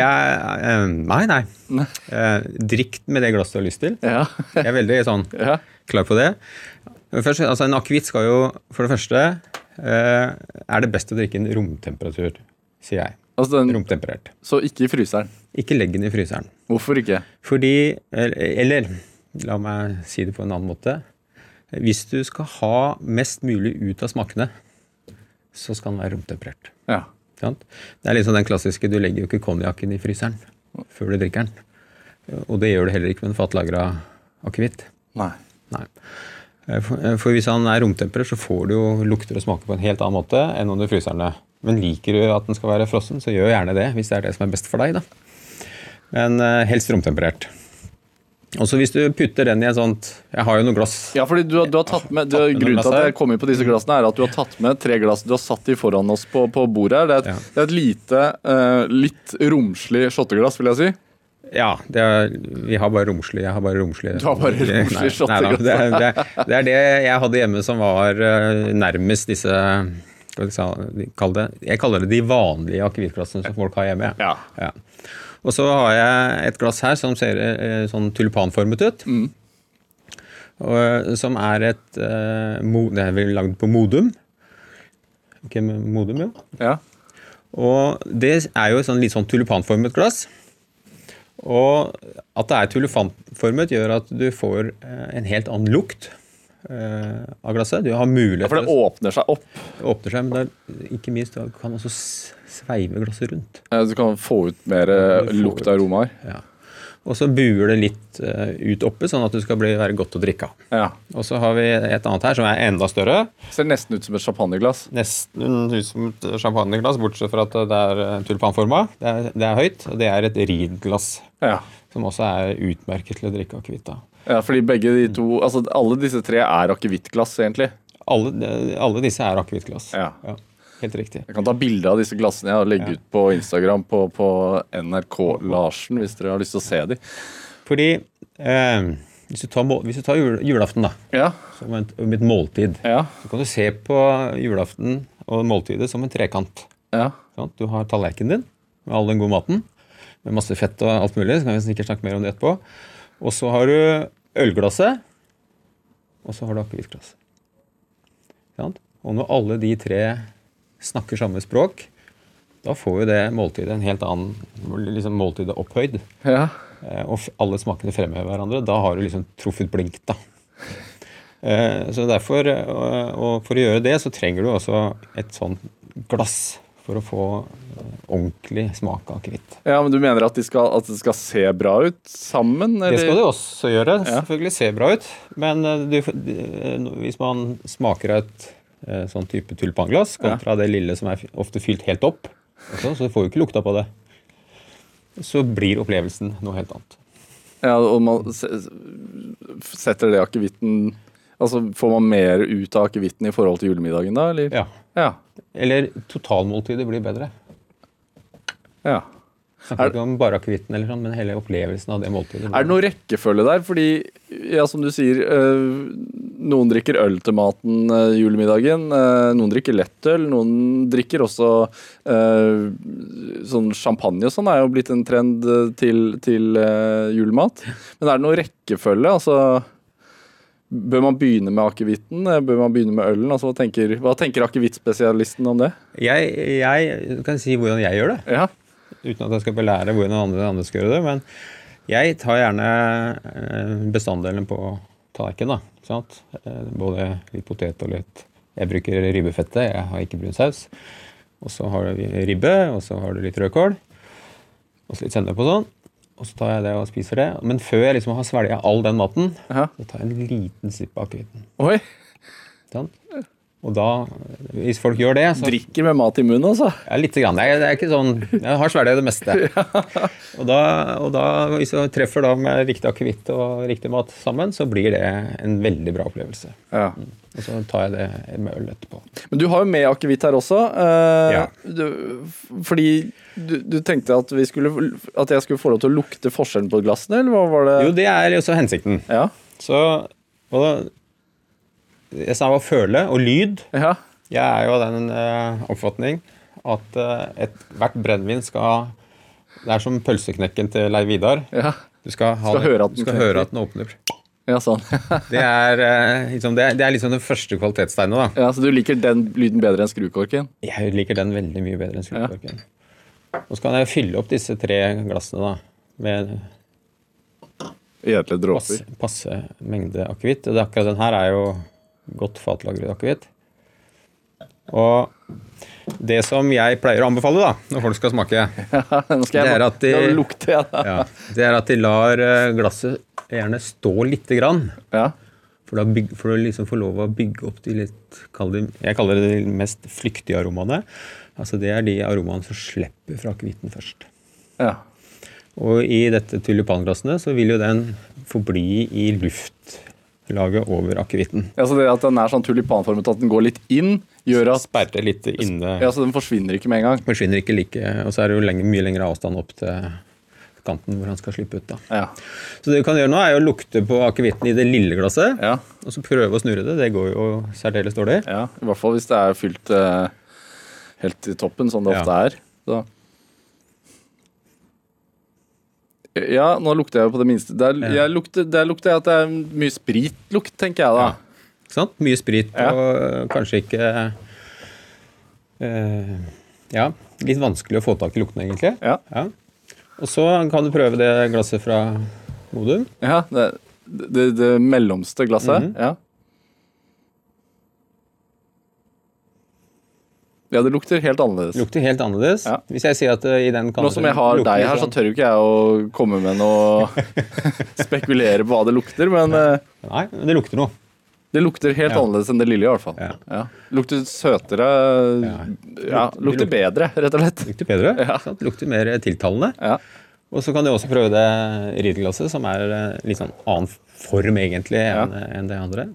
S4: eh, Nei, nei. Eh, Drikk med det glasset du har lyst til.
S2: ja.
S4: Jeg er veldig sånn
S2: ja.
S4: klar på det. Men Først, altså En akevitt skal jo for det første eh, Er det best å drikke en romtemperatur, sier jeg.
S2: Altså den,
S4: Romtemperert.
S2: så ikke i fryseren.
S4: Ikke legg den i fryseren.
S2: Hvorfor ikke?
S4: Fordi Eller, eller la meg si det på en annen måte. Hvis du skal ha mest mulig ut av smakene, så skal den være romtemperert.
S2: Ja.
S4: Ikke sant? Det er liksom den klassiske du legger jo ikke konjakken i fryseren før du drikker den. Og det gjør du heller ikke med en fatlagra akevitt.
S2: Nei.
S4: Nei. Eh, For, eh, for hvis han er romtemperert, så får du jo lukter og smaker på en helt annen måte enn om du fryser den ned. Men liker du at den skal være frossen, så gjør gjerne det, hvis det er det som er best for deg. da. Men eh, helst romtemperert. Og så hvis du putter den i et sånt Jeg har jo noe glass.
S2: Ja, fordi du, har- du har tatt med, du, har-
S4: Tatt med
S2: Grunnen
S4: noen
S2: til
S4: glass
S2: at
S4: her.
S2: jeg kom inn på disse glassene, er at du har tatt med tre glass du har satt de foran oss på, på bordet her. Det er et,
S4: Ja.
S2: det er et lite, eh, litt romslig shotteglass, vil jeg si.
S4: Ja, det er, vi har bare romslig. Jeg har bare romslig.
S2: Du har bare romslig
S4: Nei,
S2: shotteglass.
S4: nei da, det, er- det, er- det er det jeg hadde hjemme som var eh, nærmest disse skal vi sa- kalle det, Jeg kaller det de vanlige akevittglassene som folk har hjemme.
S2: Ja.
S4: Og så har jeg et glass her som ser eh, sånn tulipanformet ut.
S2: Mm.
S4: Og, eh, som er et eh, mo, Det er vel lagd på Modum. Ok, men Modum, jo.
S2: Ja.
S4: Og det er jo et sånn, litt sånn tulipanformet glass. Og at det er tulipanformet, gjør at du får eh, en helt annen lukt eh, av glasset. Du har mulighet
S2: For det åpner seg opp.
S4: det åpner seg, men det er, ikke minst, du kan også s- sveive glasset rundt.
S2: Eh, Du kan få ut mer eh,
S4: Du får
S2: lukt
S4: ut.
S2: av aromaer.
S4: Ja. Og så buer det litt eh, ut oppe, sånn at det skal bli, være godt å drikke av.
S2: Ja.
S4: Og så har vi et annet her som er enda større.
S2: Ser nesten ut som et champagneglass.
S4: Nesten ut som et champagneglass, bortsett fra at det er eh, tulipanforma. Det er, det er høyt, og det er et ridglass.
S2: Ja.
S4: som også er utmerket til å drikke akevitt av.
S2: ja, fordi begge de to Altså alle disse tre er akevittglass, egentlig.
S4: Alle, alle disse er akevittglass.
S2: Ja.
S4: Helt riktig.
S2: Jeg kan ta bilde av disse glassene jeg og legge ut på Instagram på, på NRK Larsen, hvis dere har lyst til å se de.
S4: Fordi eh, hvis du tar, må- hvis du tar jul, julaften da,
S2: Ja,
S4: som et, som et måltid,
S2: ja,
S4: så kan du se på julaften og måltidet som en trekant.
S2: ja.
S4: Sant? Du har tallerkenen din med all den gode maten, med masse fett og alt mulig. så kan vi sikkert snakke mer om det etterpå. Og så har du ølglasset, og så har du akevittglasset. Sant? Og når alle de tre snakker samme språk, da får jo det måltidet en helt annen liksom måltidet opphøyd.
S2: ja.
S4: eh, Og f- alle smakene fremhever hverandre. Da har du liksom truffet blink, da. Eh, Så derfor, eh, og og for å gjøre det, så trenger du også et sånt glass for å få eh, ordentlig smak av akevitt.
S2: ja men du mener at, de skal, at det skal se bra ut sammen?
S4: Det skal det også gjøre.
S2: Ja.
S4: Selvfølgelig ser bra ut. Men eh, du, får- eh, no- hvis man smaker av et eh, sånn type tulipanglass kontra det lille som er fy- ofte fylt helt opp, også, så får du ikke lukta på det. Så blir opplevelsen noe helt annet.
S2: Ja, og man se- setter det akevitten Altså får man mer ut av akevitten i forhold til julemiddagen da, eller?
S4: Ja.
S2: Ja.
S4: Eller totalmåltidet blir bedre.
S2: ja. Er-
S4: Snakker ikke om bare akevitten, eller sånn, men hele opplevelsen av det måltidet.
S2: Er det noen rekkefølge der? Fordi, ja, som du sier, øh, noen drikker øl til maten øh, julemiddagen. øh, Noen drikker lettøl. Noen drikker også øh, sånn champagne og sånn. er jo blitt en trend øh, til, til øh, julemat. Men er det noen rekkefølge? Altså, bør man begynne med akevitten? Eh, Bør man begynne med ølen? Altså, hva tenker, hva tenker akevittspesialisten om det?
S4: Jeg, jeg kan si hvordan jeg gjør det,
S2: Ja.
S4: uten at jeg skal belære hvordan andre, andre skal gjøre det. Men jeg tar gjerne eh, bestanddelen på tallerkenen. da, ikke sant? Eh, Både litt potet og litt Jeg bruker ribbefettet, jeg har ikke brun saus. Og så har du ribbe, og så har du litt rødkål. Og så litt sennep og sånn. Og så tar jeg det og spiser det. Men før jeg liksom har svelga all den maten,
S2: Ja.
S4: så tar jeg en liten slipp av akevitten.
S2: Oi!
S4: Ikke sant? Sånn. Og da, hvis folk gjør det, så
S2: Drikker med mat i munnen, altså.
S4: ja, litt grann. Jeg, det er ikke sånn, jeg har svelget det meste. Og, da, og da, hvis du treffer da med riktig akevitt og riktig mat sammen, så blir det en veldig bra opplevelse.
S2: Ja.
S4: Og så tar jeg det med øl etterpå.
S2: Men du har jo med akevitt her også. eh,
S4: Ja.
S2: du, f- fordi du, du tenkte at, vi skulle, at jeg skulle få lov til å lukte forskjellen på glassene, eller hva var det?
S4: Jo, det er også hensikten.
S2: Ja.
S4: Så og da, Jeg sa å føle og lyd.
S2: ja.
S4: Jeg er jo av den eh, oppfatning at eh, et- hvert brennevin skal Det er som pølseknekken til Leiv Vidar.
S2: Ja,
S4: Du skal, ha
S2: Skal
S4: den,
S2: høre at den
S4: du skal
S2: knekker.
S4: høre at den åpner.
S2: ja sånn.
S4: Det er, eh, liksom, det, er, det er liksom den første kvalitetstegnet. da.
S2: Ja, Så du liker den lyden bedre enn skrukorken?
S4: Jeg liker den veldig mye bedre enn skrukorken. Og så kan jeg fylle opp disse tre glassene da, med
S2: Gjedelige
S4: passe,
S2: dråper.
S4: passe mengde akevitt. Og det, er akkurat den her er jo godt fatlagret akevitt. Og det som jeg pleier å anbefale da, når folk skal smake,
S2: Nå skal
S4: Det
S2: jeg
S4: er at de-
S2: nå lukter jeg det.
S4: ja, det er at de lar eh, glasset gjerne stå lite grann.
S2: Ja.
S4: For da byg, for å liksom få lov å bygge opp de litt kall det, Jeg kaller det de mest flyktige aromaene. Altså Det er de aromaene som slipper fra akevitten først.
S2: Ja.
S4: Og i dette tulipanglassene så vil jo den forbli i luftlaget over akevitten.
S2: ja, så det at den er sånn tulipanformet at den går litt inn, gjør at
S4: Sperre litt inne.
S2: ja, så den forsvinner ikke med en gang.
S4: Forsvinner ikke like Og så er det jo lenge, mye lengre avstand opp til kanten hvor han skal slippe ut. da.
S2: Ja.
S4: Så det du kan gjøre nå, er jo å lukte på akevitten i det lille glasset.
S2: Ja.
S4: Og så prøve å snurre det. Det går jo særdeles dårlig.
S2: ja. I hvert fall hvis det er fylt eh, helt til toppen, som det
S4: Ja.
S2: ofte er. Så. Ja, nå lukter jeg jo på det minste. Der, jeg lukter, der lukter jeg at det er mye spritlukt, tenker jeg da.
S4: Ikke sant? Mye sprit
S2: Ja.
S4: og kanskje ikke eh, Ja, litt vanskelig å få tak i lukten, egentlig.
S2: Ja.
S4: Og så kan du prøve det glasset fra Modum.
S2: Ja, det, det, det mellomste glasset.
S4: Mhm.
S2: ja. ja, det lukter helt annerledes.
S4: Det lukter helt annerledes.
S2: Ja.
S4: Hvis jeg sier at eh, i den kan
S2: Nå som jeg har deg
S4: sånn.
S2: her, så tør jo ikke jeg å komme med noe Spekulere på hva det lukter, men eh,
S4: Nei, men det lukter noe.
S2: det lukter helt
S4: Ja.
S2: annerledes enn det lille, i hvert fall.
S4: Ja.
S2: Lukter søtere
S4: Ja.
S2: Ja, lukter bedre, rett og slett.
S4: Det lukter bedre. ikke sant? Det lukter mer eh, tiltalende.
S2: Ja.
S4: Og så kan du også prøve det rideglasset, som er eh, litt sånn annen form, egentlig,
S2: Ja.
S4: enn eh, enn det andre.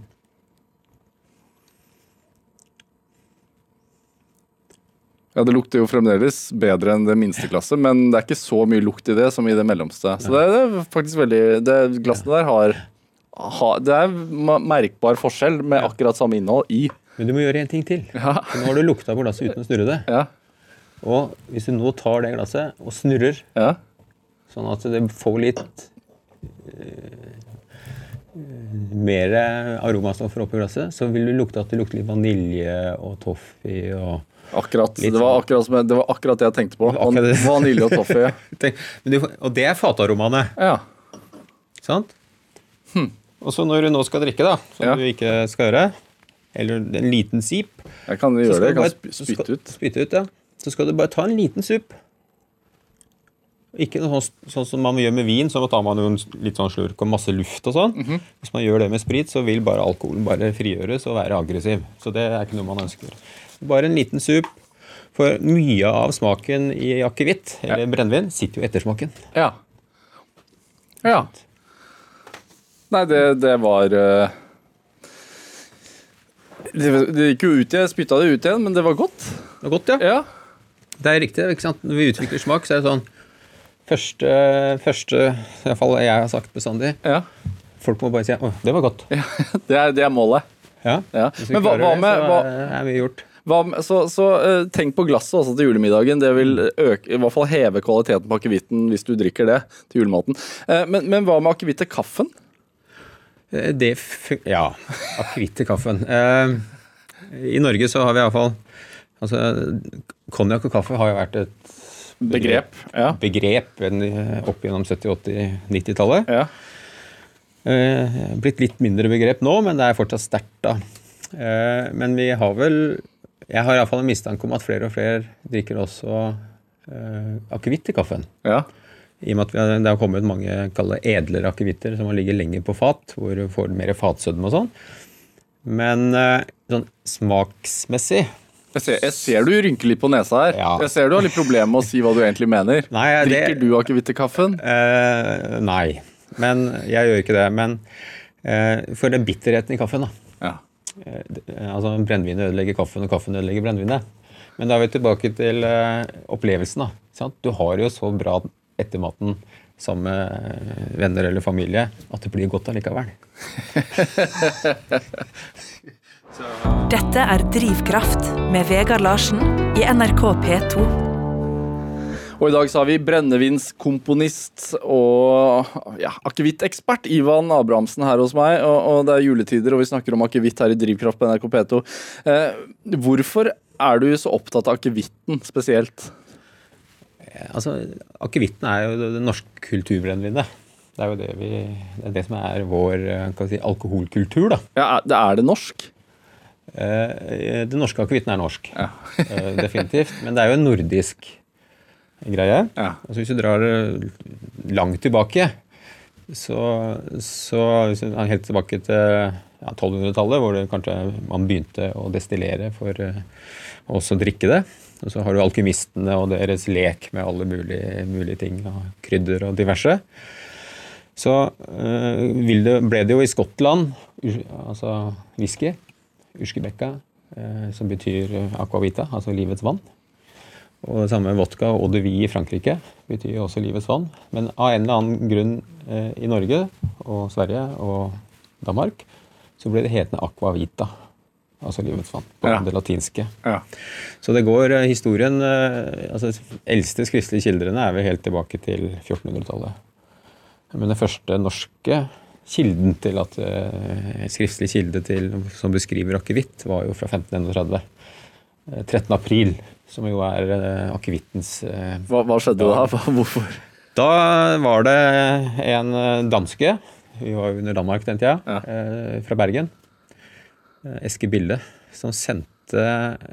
S2: Ja, Det lukter jo fremdeles bedre enn det minste glasset, men det er ikke så mye lukt i det som i det mellomste. Så det, det er faktisk veldig det, Glassene der har, har Det er ma- merkbar forskjell med akkurat samme innhold i.
S4: Men du må gjøre én ting til. For Nå har du lukta på glasset uten å snurre det.
S2: Ja,
S4: Og hvis du nå tar det glasset og snurrer,
S2: ja.
S4: sånn at det får litt eh, mer aromastoffer oppi glasset, så vil du lukte at det lukter litt vanilje og toffee og
S2: Akkurat.
S4: Litt
S2: det, var akkurat som jeg, det var akkurat det jeg tenkte på.
S4: Akkurat det.
S2: Vanilje og toffee.
S4: Tenk- men du, Og det er fataromane,
S2: Ja.
S4: ikke sant? Og så når du nå skal drikke, da, som
S2: Ja.
S4: du ikke skal gjøre, eller en liten sip
S2: Jeg kan
S4: så
S2: gjøre
S4: skal
S2: det. Jeg
S4: du
S2: kan
S4: bare-
S2: sp-
S4: så
S2: spytte
S4: skal-
S2: ut.
S4: Spytte ut, ja. Så skal du bare ta en liten supp. Ikke noe sånn, sånn som man gjør med vin, så tar man jo en s- litt sånn slurk og masse luft og sånn.
S2: Mhm.
S4: Hvis man gjør det med sprit, så vil bare alkoholen bare frigjøres og være aggressiv. Så det er ikke noe man ønsker. Bare en liten supp. For mye av smaken i akevitt, eller brennevin, sitter jo i ettersmaken.
S2: Ja. Ja. Nei, det, det var eh, det, det gikk jo ut igjen. Jeg spytta det ut igjen, men det var godt.
S4: Det er godt, ja.
S2: Ja.
S4: Det er riktig. ikke sant? Når vi utvikler smak, så er det sånn Første, første i hvert fall jeg har sagt bestandig
S2: ja.
S4: Folk må bare si 'Å, det var godt'.
S2: Ja, det er, det er målet.
S4: Ja.
S2: Ja.
S4: Hvis vi
S2: Men hva, hva
S4: klarer det,
S2: med,
S4: så
S2: hva,
S4: er- er vi gjort.
S2: hva med Så, så eh, tenk på glasset også til julemiddagen. Det vil øke, i hvert fall heve kvaliteten på akevitten hvis du drikker det til julematen. Eh, Men, men hva med akevitt til kaffen?
S4: Eh, Det fun- Ja. Akevitt til kaffen. Eh, I Norge så har vi iallfall Altså, konjakk og kaffe har jo vært et Begrep.
S2: Ja.
S4: begrep en, eh, opp gjennom 70-, 80-, 90-tallet.
S2: ja.
S4: Eh, blitt litt mindre begrep nå, men det er fortsatt sterkt, da. Eh, men vi har vel Jeg har iallfall en mistanke om at flere og flere drikker også eh, akevitt til kaffen.
S2: ja.
S4: I og med at vi har, det har kommet mange kall det edlere akevitter som har ligget lenger på fat, hvor du får mer fatsødme og sånn. Men eh, sånn smaksmessig
S2: Jeg ser, jeg ser du rynker litt på nesa her.
S4: Ja.
S2: Jeg ser du har litt problemer med å si hva du egentlig mener.
S4: Nei, det-
S2: Drikker du akevitt til kaffen?
S4: eh, Nei. Men jeg gjør ikke det. Men eh, for den bitterheten i kaffen, da.
S2: Ja.
S4: Eh, det- altså Brennevinet ødelegger kaffen, og kaffen ødelegger brennevinet. Men da er vi tilbake til eh, opplevelsen. da. ikke Sant? Du har jo så bra ettermaten sammen med venner eller familie at det blir godt allikevel.
S3: Dette er Drivkraft med Vegard Larsen i NRK P2.
S2: Og i dag så har vi brennevinskomponist og ja, akevitt-ekspert Ivan Abrahamsen her hos meg. Og, og det er juletider, og vi snakker om akevitt her i Drivkraft på NRK P2. Eh, hvorfor er du så opptatt av akevitten spesielt?
S4: Altså, Akevitten er jo det, det norske kulturbrennevinet. Det er jo det, vi, det, er det som er vår eh, kan vi si, alkoholkultur. da.
S2: Ja, er, det er det norsk?
S4: Eh, Den norske akevitten er norsk, Eh, definitivt. Men det er jo en nordisk greie.
S2: Ja.
S4: Altså Hvis du drar eh, langt tilbake, så, så hvis du er helt tilbake til ja, 1200-tallet, hvor det kanskje man begynte å destillere for eh, å også drikke det. Og så har du alkymistene og deres lek med alle mulige, mulige ting, og krydder og diverse. Så eh, vil det, ble det jo i Skottland, ur- altså whisky, urskebekka, eh, som betyr eh, aquavita, altså livets vann. Og det samme med vodka og eau de vie i Frankrike betyr jo også livets vann. Men av en eller annen grunn eh, i Norge og Sverige og Danmark så ble det hetende aquavita, altså livets vann, på
S2: Ja.
S4: det latinske.
S2: Ja.
S4: Så det går eh, historien eh, altså De eldste skriftlige kildene er vel helt tilbake til 1400-tallet. Men den første norske kilden til at eh, skriftlig kilde til, som beskriver akevitt, var jo fra 1531. Eh, 13. april, som jo er eh, akevittens eh,
S2: Hva, hva skjedde da? Hva- Hvorfor?
S4: da var det en eh, danske, vi var jo under Danmark den tida, eh, fra Bergen, eh, Eske Bille, som sendte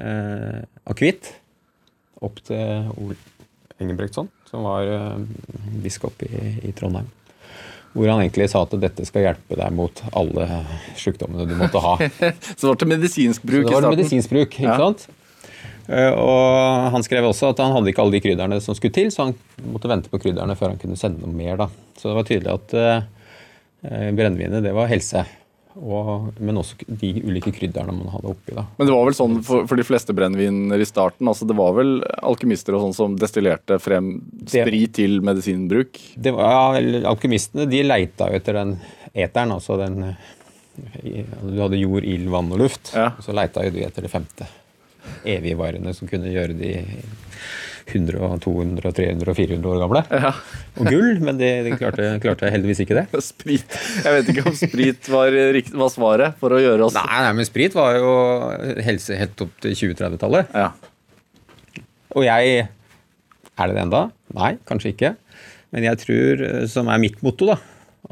S4: eh, akevitt opp til Ol Engebrektsson, som var eh, biskop i, i Trondheim. Hvor han egentlig sa at dette skal hjelpe deg mot alle sjukdommene du måtte ha.
S2: Så det var til medisinsk bruk
S4: Så
S2: i
S4: det var
S2: starten?
S4: medisinsk bruk, ikke
S2: Ja.
S4: sant? Eh, Og han skrev også at han hadde ikke alle de krydderne som skulle til, så han måtte vente på krydderne før han kunne sende noe mer. Da. Så det var tydelig at eh, brennevinet, det var helse. Og, men også de ulike krydderne man hadde oppi. Da.
S2: Men det var vel sånn for, for de fleste brenneviner i starten? altså Det var vel alkymister og sånn som destillerte frem sprit til medisinbruk?
S4: Det var, ja, eller alkymistene de leita jo etter den eteren, altså den eh, i- Du hadde jord, ild, vann og luft.
S2: Ja.
S4: Og så leita jo de etter det femte. Evigvarende som kunne gjøre de 100, og 200, og 300 og 400 år gamle. Og gull, men det, det klarte, klarte heldigvis ikke det.
S2: Sprit. Jeg vet ikke om sprit var, rikt- var svaret for å gjøre oss
S4: Nei, nei, men sprit var jo helse helt opp til 2030-tallet.
S2: Ja.
S4: Og jeg Er det det enda? Nei, kanskje ikke. Men jeg tror, eh, som er mitt motto, da,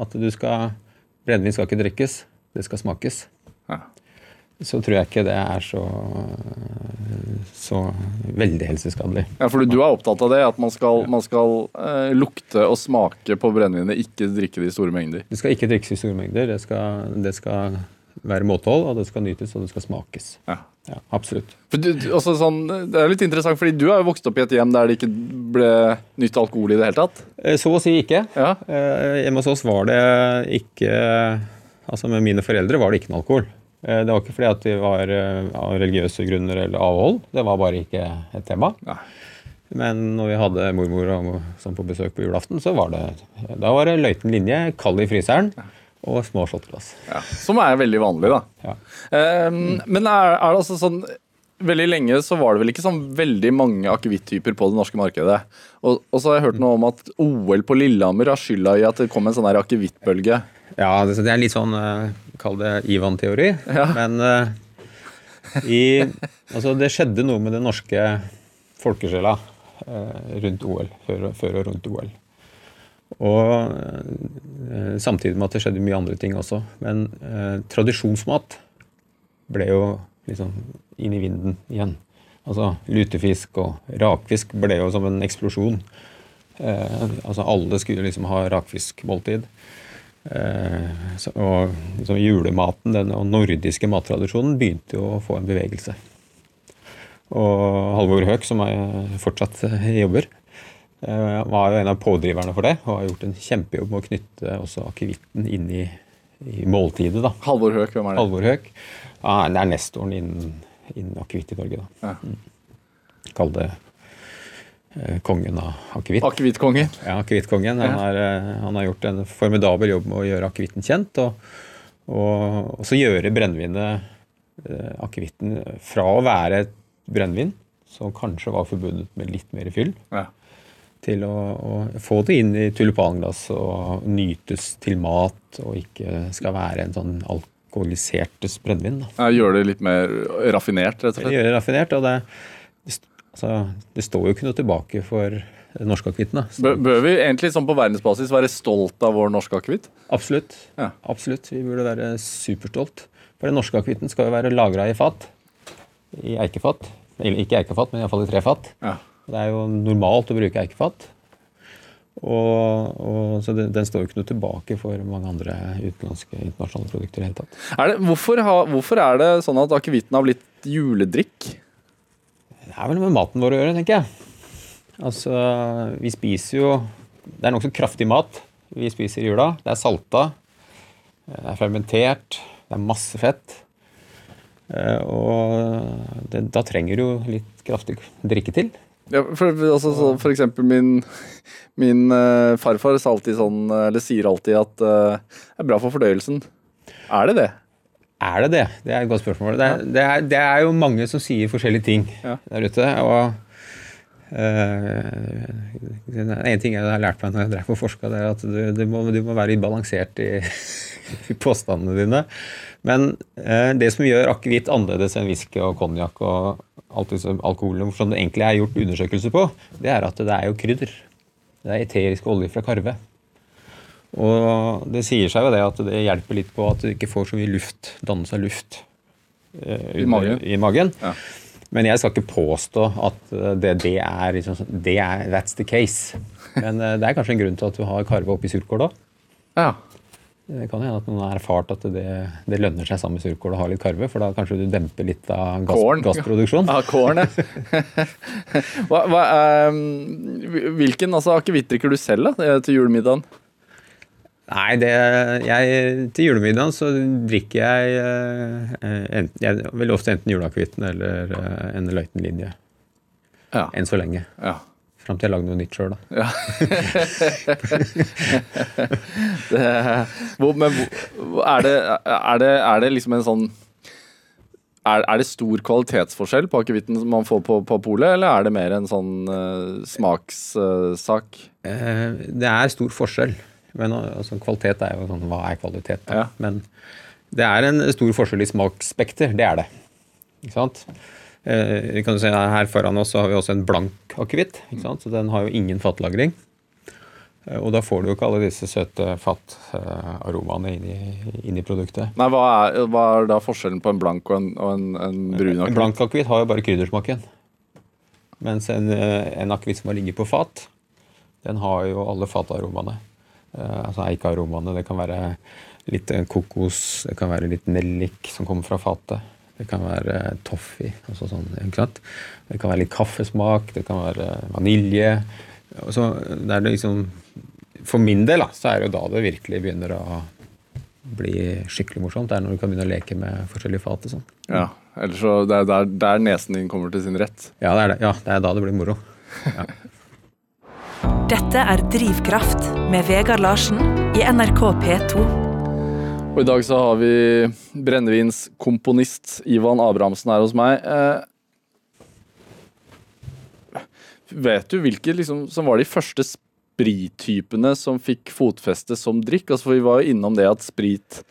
S4: at du skal Brennevin skal ikke drikkes, det skal smakes.
S2: Ja.
S4: Så tror jeg ikke det er så eh, så veldig helseskadelig.
S2: ja, for du er opptatt av det, at man skal, man skal eh, lukte og smake på brennevinet, ikke drikke det i store mengder.
S4: Det skal ikke drikkes i store mengder. Det skal, det skal være måtehold, og det skal nytes, og det skal smakes.
S2: Ja.
S4: Ja, absolutt.
S2: For du, du- også sånn, det er litt interessant, fordi du er jo vokst opp i et hjem der det ikke ble nytt alkohol i det hele tatt.
S4: Eh, Så å si ikke.
S2: Ja.
S4: Eh, Hjemme hos oss var det ikke Altså med mine foreldre var det ikke noe alkohol. Eh, Det var ikke fordi at de var eh, av religiøse grunner eller avhold. Det var bare ikke et tema.
S2: Nei.
S4: Men når vi hadde mormor og mor- sånn på besøk på julaften, så var det Da var det løyten linje, kald i fryseren og små shotglass.
S2: Ja. Som er veldig vanlig, da.
S4: Ja.
S2: Ehm, Men er, er det altså sånn Veldig lenge så var det vel ikke sånn veldig mange akevitt-typer på det norske markedet. Og, og så har jeg hørt noe om at OL på Lillehammer har skylda i at det kom en sånn her akevittbølge.
S4: Ja, det, så det er litt sånn eh, Kall det Ivan-teori. Men eh, i Altså, det skjedde noe med den norske folkesjela eh, rundt OL. Før, og- før og rundt OL. Og eh, samtidig med at det skjedde mye andre ting også. Men eh, tradisjonsmat ble jo liksom inn i vinden igjen. Altså lutefisk og rakfisk ble jo som en eksplosjon. Eh, altså alle skulle liksom ha rakfiskmåltid. Eh, så, og liksom julematen, den og nordiske mattradisjonen, begynte jo å få en bevegelse. Og Halvor Høek, som er fortsatt eh, jobber, eh, var jo en av pådriverne for det. Og har gjort en kjempejobb med å knytte også akevitten inn i, i måltidet. da.
S2: Halvor Høek, hvem er det?
S4: Halvor Høek. Ja, det er nestoren innen, innen akevitt i Norge, da. Mm.
S2: Ja.
S4: Kall det eh, kongen av akevitt.
S2: Akevittkongen.
S4: Ja, Akevittkongen. Han, har, eh, han har gjort en formidabel jobb med å gjøre akevitten kjent. Og, og, og så gjøre brennevinet eh, akevitten fra å være et brennevin, som kanskje var forbundet med litt mer fyll,
S2: Ja.
S4: til å, å få det inn i tulipanglass og nytes til mat, og ikke skal være en sånn alkoholisertes brennevin. da.
S2: Ja, Gjøre det litt mer raffinert, rett og
S4: Det
S2: slett.
S4: gjør det raffinert, og det, det st- altså, det står jo ikke noe tilbake for den norske akevitten. da. Så-
S2: Bø- Bør vi egentlig sånn på verdensbasis være stolt av vår norske akevitt?
S4: Absolutt.
S2: Ja.
S4: Absolutt. Vi burde være superstolt. For den norske akevitten skal jo være lagra i fat. I eikefat. Eller ikke eikefat, men iallfall i trefat.
S2: Ja.
S4: Det er jo normalt å bruke eikefat. Og, og, så den, den står jo ikke noe tilbake for mange andre utenlandske internasjonale produkter. i det hele tatt.
S2: Er det, hvorfor, ha, hvorfor er det sånn at akevitten har blitt juledrikk?
S4: Det er vel med maten vår å gjøre, tenker jeg. Altså, vi spiser jo Det er nokså kraftig mat vi spiser i jula. Det er salta. eh, Det er fermentert. Det er masse fett. Eh, Og det, da trenger du jo litt kraftig drikke til.
S2: Ja, for, altså, så, for eksempel min, min eh, farfar sa alltid sånn, eh, eller sier alltid at eh, det er bra for fordøyelsen. Er det det?
S4: Er det det? Det er et godt spørsmål. Det er, det er, det er jo mange som sier forskjellige ting
S2: Ja.
S4: der ute. og eh, en ting jeg har lært meg når jeg drev og forska, er at du, du, må, du må være balansert i, i påstandene dine. Men eh, det som gjør akevitt annerledes enn whisky og konjakk og alt disse alkoholene som det egentlig er gjort undersøkelser på, det er at det er jo krydder. Det er eterisk olje fra karve. Og det sier seg jo det at det hjelper litt på at du ikke får så mye luft, dannelse av luft eh,
S2: I magen.
S4: I magen.
S2: Ja.
S4: Men jeg skal ikke påstå at eh, det, det er liksom sånn- det er, That's the case. Men eh, det er kanskje en grunn til at du har karve oppi surkål da.
S2: Ja.
S4: Det kan jo hende at noen har erfart at det, det lønner seg sammen med surkål å ha litt karve, for da kanskje du demper litt av gass,
S2: Kålen.
S4: gassproduksjon.
S2: Ja, kåren, ja. hva, hva, eh, hvilken altså, akevitt drikker du selv da, eh, til julemiddagen?
S4: Nei, det, jeg, til julemiddagen så drikker jeg, eh, eh, enten, jeg vil ofte enten juleakevitten eller eh, en løytenlinje.
S2: Ja.
S4: Enn så lenge.
S2: ja.
S4: Fram til jeg lager noe nytt sjøl, da.
S2: Det, hvor, men hvor, er, det, er, det, er det liksom en sånn er, er det stor kvalitetsforskjell på akevitten som man får på, på polet, eller er det mer en sånn smakssak?
S4: Eh, Det er stor forskjell. Men eh, altså, kvalitet er jo sånn Hva er kvalitet, da?
S2: Ja.
S4: Men det er en stor forskjell i smaksspekter. Det er det. Ikke sant? Eh, vi kan jo se Her foran oss så har vi også en blank akevitt. ikke sant? Så den har jo ingen fattlagring. Eh, Og da får du jo ikke alle disse søte fattaromaene inn, i- inn i produktet.
S2: Nei, hva er, hva er da forskjellen på en blank og en, og en, en brun
S4: En
S2: akevitt?
S4: blank akevitt har jo bare kryddersmaken. Mens en, eh, en akevitt som har ligget på fat, den har jo alle fataromaene. Eh, altså eikearomaene. Det kan være litt eh, kokos, det kan være litt nellik som kommer fra fatet. Det kan være eh, toffee. Altså sånn, ikke sant? Det kan være litt kaffesmak, det kan være vanilje. Og Så det er det liksom For min del da, så er det jo da det virkelig begynner å bli skikkelig morsomt. Det er når du kan begynne å leke med forskjellige fat og sånn.
S2: Ja, eller så det er der, der nesen din kommer til sin rett.
S4: Ja, det er, det. Ja, det er da det blir moro.
S3: Dette er Drivkraft med Vegard Larsen i NRK P2.
S2: Og i dag så har vi brennevinskomponist Ivan Abrahamsen her hos meg. Eh, vet du hvilke liksom, som var de første sprittypene som fikk fotfeste som drikk? Altså, for vi var jo innom det at sprit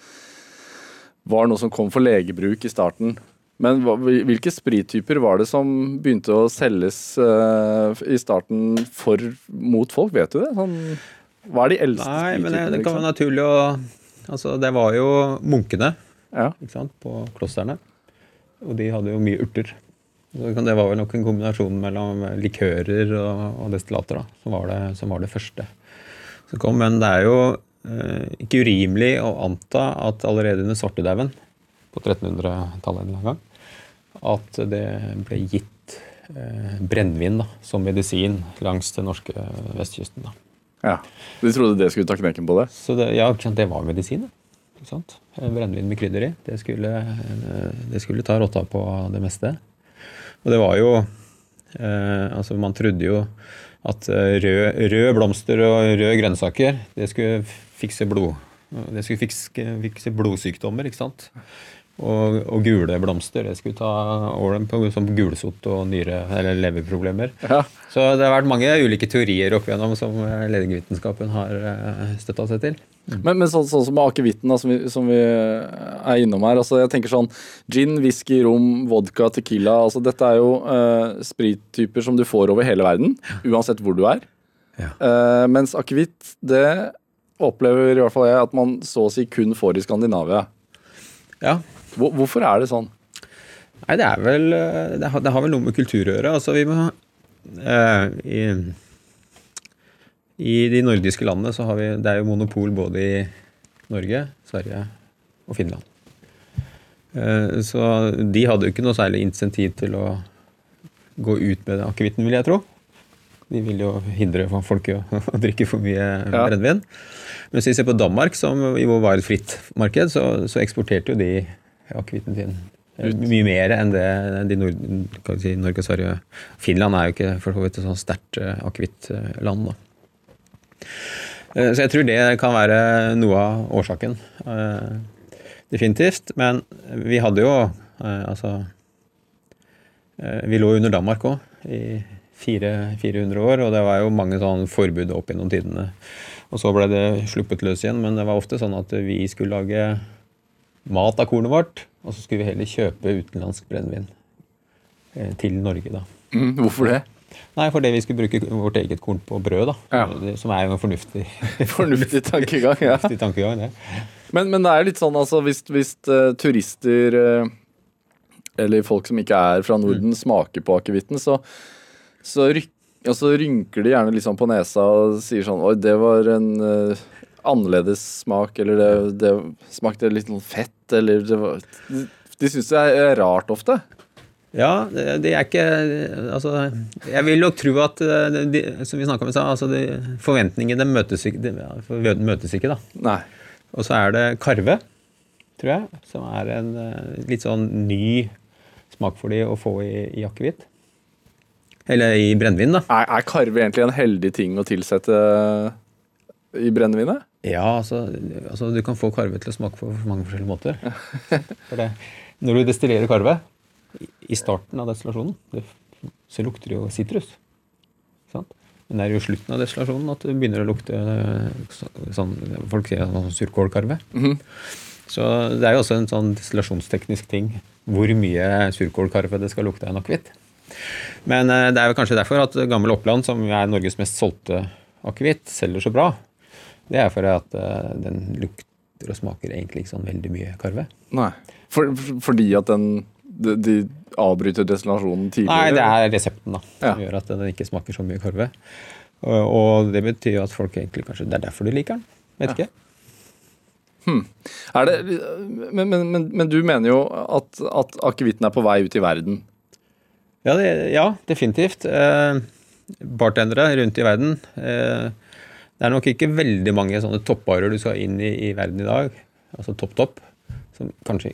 S2: var noe som kom for legebruk i starten. Men hva, hvilke sprittyper var det som begynte å selges eh, i starten for, mot folk? Vet du det? Sånn, hva er de eldste
S4: Nei, men det,
S2: sprittypene?
S4: det kan
S2: liksom?
S4: være naturlig å Altså, det var jo munkene
S2: Ja.
S4: ikke sant, på klosterne. Og de hadde jo mye urter. Så det kan- det var vel nok en kombinasjon mellom likører og, og destillater da, som var, det, som var det første som kom. Men det er jo eh, ikke urimelig å anta at allerede under svartedauden på 1300-tallet en eller annen gang, at det ble gitt eh, brennevin da, som medisin langs den norske vestkysten. da.
S2: Ja. De trodde det skulle ta knekken på det?
S4: Så det, ja, ikke sant, det var medisin. da. Ikke sant? Eh, Brennevin med krydder i. Det skulle, eh, det skulle ta rotta på det meste. Og det var jo eh, Altså, man trodde jo at eh, rød, rød blomster og røde grønnsaker, det skulle fikse blod. Det skulle fikse, fikse blodsykdommer, ikke sant. Og, og gule blomster. Det skulle ta over dem på som gulsott og nyre- eller leverproblemer.
S2: Ja.
S4: Så det har vært mange ulike teorier opp igjennom som eh, legevitenskapen har eh, støtta seg til.
S2: Men, men sånn, sånn som med akevitten, da, som, vi- som vi er innom her. altså jeg tenker sånn, Gin, whisky, rom, vodka, tequila. altså Dette er jo eh, sprittyper som du får over hele verden, uansett hvor du er.
S4: Ja.
S2: Eh, mens akevitt, det opplever i hvert fall jeg at man så å si kun får i Skandinavia.
S4: Ja,
S2: Hvor, hvorfor er det sånn?
S4: Nei, det er vel eh, Det har, det har vel noe med kultur å gjøre. Altså, vi må eh, i, I de nordiske landene så har vi Det er jo monopol både i Norge, Sverige og Finland. Eh, så de hadde jo ikke noe særlig insentiv til å gå ut med akevitten, vil jeg tro. De vil jo hindre folk i å å drikke for mye
S2: Ja.
S4: brennevin. Men hvis vi ser på Danmark, som jo var et fritt marked, så, så eksporterte jo de akevitten sin eh, mye mer enn det de nord, kan vi si, Norge og Sverige Finland er jo ikke for så vidt et sånn sterkt eh, akevittland, da. Eh, Så jeg tror det kan være noe av årsaken. eh, Definitivt. Men vi hadde jo eh, altså eh, Vi lå under Danmark òg i fire, 400 år, og det var jo mange sånn forbud opp gjennom tidene. Og så ble det sluppet løs igjen, men det var ofte sånn at vi skulle lage mat av kornet vårt, og så skulle vi heller kjøpe utenlandsk brennevin eh, til Norge, da.
S2: hvorfor det?
S4: Nei, fordi vi skulle bruke vårt eget korn på brød, da.
S2: Ja.
S4: Det- Som er jo en fornuftig,
S2: Fornuftig tankegang. ja.
S4: fornuftig tankegang, det.
S2: Men, men det er jo litt sånn, altså, hvis, hvis eh, turister eh, eller folk som ikke er fra Norden,
S4: Mm.
S2: smaker på akevitten, så, så, ryk, og så rynker de gjerne liksom på nesa og sier sånn Oi, det var en eh, annerledes smak, eller det, det smakte litt sånn fett, eller det var De, de syns det er rart ofte.
S4: Ja, det det er ikke Altså, jeg vil nok tro at eh, de, Som vi snakka om i stad, altså de, forventningene møtes ikke, de, ja, for- møtes ikke, da.
S2: Nei.
S4: Og så er det karve, tror jeg, som er en eh, litt sånn ny smak for de å få i, i akevitt. Eller i brennevin, da.
S2: Er, er karve egentlig en heldig ting å tilsette eh, i brennevinet?
S4: Ja, altså, altså du kan få karve til å smake på for mange forskjellige måter. For det, når du destillerer karve, i- i starten av destillasjonen, det, så lukter det jo sitrus. Ikke sant? Men det er jo i slutten av destillasjonen at det begynner å lukte eh, så- sånn, Folk sier sånn surkålkarve. Så det er jo også en sånn destillasjonsteknisk ting hvor mye surkålkarve det skal lukte av en akevitt. Men eh, det er jo kanskje derfor at Gammel Oppland, som er Norges mest solgte akevitt, selger så bra. Det er fordi at eh, den lukter og smaker egentlig ikke sånn veldig mye karve.
S2: Nei. For, for, fordi at den de, de avbryter destinasjonen tidligere?
S4: Nei, det er resepten da, som
S2: Ja.
S4: gjør at den ikke smaker så mye karve. Og, og det betyr jo at folk egentlig kanskje Det er derfor de liker den. Vet ikke.
S2: Er det, men, men, men, men du mener jo at, at akevitten er på vei ut i verden.
S4: Ja, det, ja definitivt. Eh, bartendere rundt i verden. Eh, det er nok ikke veldig mange sånne toppbarer du skal inn i i verden i dag, altså topp-topp, som kanskje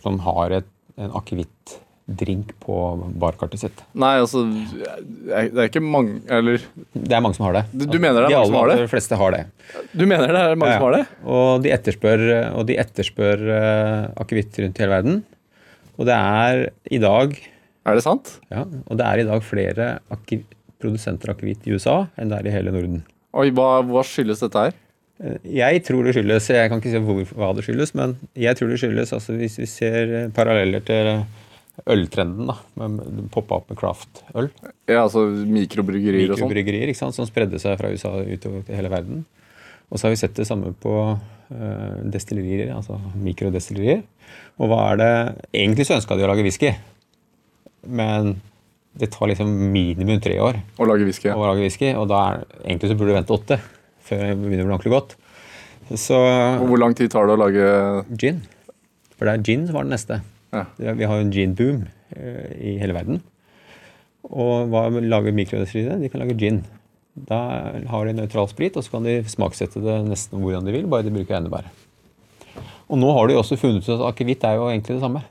S4: som har et, en akevittdrink på barkartet sitt.
S2: Nei, altså jeg- Det er ikke mange Eller
S4: Det er mange som har det.
S2: Du- du mener det er
S4: de
S2: mange som
S4: aller,
S2: har det?
S4: aller fleste har det.
S2: Du mener det er mange som har det?
S4: Og de etterspør, og de etterspør eh, akevitt rundt i hele verden. Og det er i dag
S2: Er det sant?
S4: ja, og det er i dag flere akev- produsenter av akevitt i USA enn det er i hele Norden.
S2: Oi, hva, hva skyldes dette her?
S4: Eh, Jeg tror det skyldes Jeg kan ikke si hvor, hva det skyldes, men jeg tror det skyldes altså Hvis vi ser eh, paralleller til eh, øltrenden, da, med poppa opp med craft-øl
S2: Ja, altså mikrobryggerier og sånn?
S4: mikrobryggerier ikke sant, som spredde seg fra USA utover til hele verden. Og så har vi sett det samme på eh, destillerier, altså mikrodestillerier. Og hva er det Egentlig så ønska de å lage whisky, men det tar liksom minimum tre år
S2: Å lage whisky?
S4: å
S2: Ja.
S4: lage whisky, og da er, egentlig så burde du vente åtte før det begynner å bli ordentlig godt. Så
S2: Og hvor lang tid tar det å lage
S4: gin. For det er gin som var den neste.
S2: Ja.
S4: Det er- Vi har jo en gin-boom eh, i hele verden. Og hva lager mikrodestilleriene? De kan lage gin. Da har de nøytral sprit, og så kan de smaksette det nesten hvordan de vil, bare de bruker enebær. Og nå har de jo også funnet ut at akevitt er jo egentlig det samme.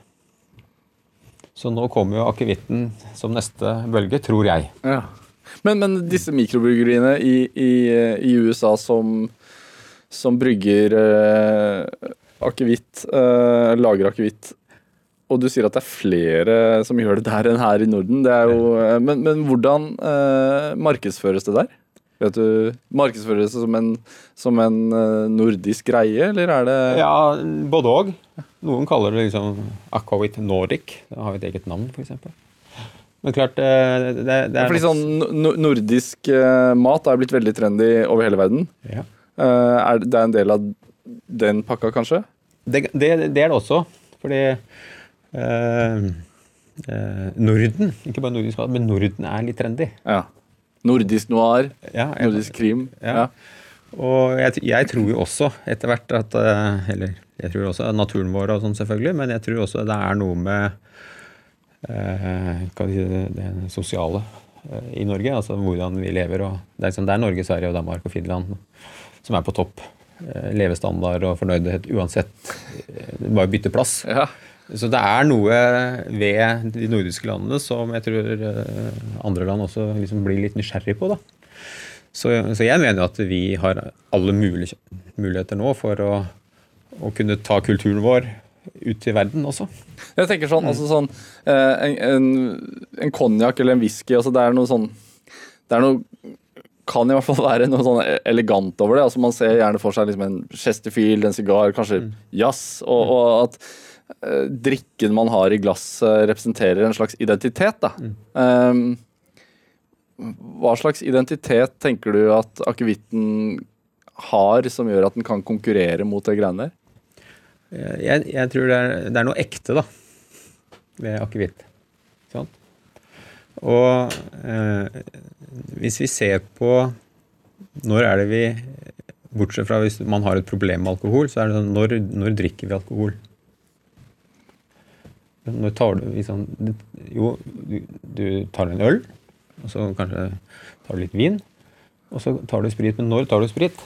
S4: Så nå kommer jo akevitten som neste bølge, tror jeg.
S2: ja. men, men disse mikrobryggeriene i, i, eh, i USA som, som brygger eh, akevitt, eh, lager akevitt Og du sier at det er flere som gjør det der enn her i Norden. Det er jo, eh, men, men hvordan eh, markedsføres det der? Vet du, Markedsføres det som en, som en eh, nordisk greie, eller er det
S4: Ja, både òg. Noen kaller det liksom Aquavit Nordic. Det har jo et eget navn, f.eks. Men klart eh, det, det er
S2: Fordi sånn no- Nordisk eh, mat er blitt veldig trendy over hele verden.
S4: ja.
S2: Eh, Er det det er en del av den pakka, kanskje?
S4: det, det, det er det også. Fordi eh, eh, Norden, ikke bare nordisk mat, men Norden er litt trendy.
S2: Ja. Nordisk noir,
S4: Ja, jeg-
S2: nordisk krim.
S4: Ja.
S2: Ja.
S4: Og jeg, t- jeg tror jo også etter hvert at eh, Eller jeg tror også naturen vår og sånn, selvfølgelig, men jeg tror også det er noe med eh, hva skal vi si, det, det sosiale eh, i Norge. Altså hvordan vi lever. Og det, er liksom, det er Norge, Sverige, og Danmark og Finland som er på topp. Eh, levestandard og fornøydhet uansett. Eh, det er Bare bytte plass.
S2: Ja.
S4: Så det er noe ved de nordiske landene som jeg tror eh, andre land også liksom blir litt nysgjerrig på. da. Så, så jeg mener jo at vi har alle mulige, muligheter nå for å, å kunne ta kulturen vår ut til verden også.
S2: Jeg tenker sånn, altså sånn eh, En, en, en konjakk eller en whisky, altså det er noe sånn Det er noe kan i hvert fall være noe sånn elegant over det. altså Man ser gjerne for seg liksom en Chesterfield, en sigar, kanskje jazz. Og, og at eh, drikken man har i glasset, representerer en slags identitet. da. Eh, hva slags identitet tenker du at akevitten har, som gjør at den kan konkurrere mot det greiene der?
S4: Eh, Jeg, jeg tror det er, det er noe ekte da, ved akevitt. Ikke sant? Og eh, hvis vi ser på når er det vi Bortsett fra hvis man har et problem med alkohol, så er det sånn Når, når drikker vi alkohol? Når tar du liksom, Jo, du, du tar en øl, og så kanskje tar du litt vin. Og så tar du sprit. Men når tar du sprit?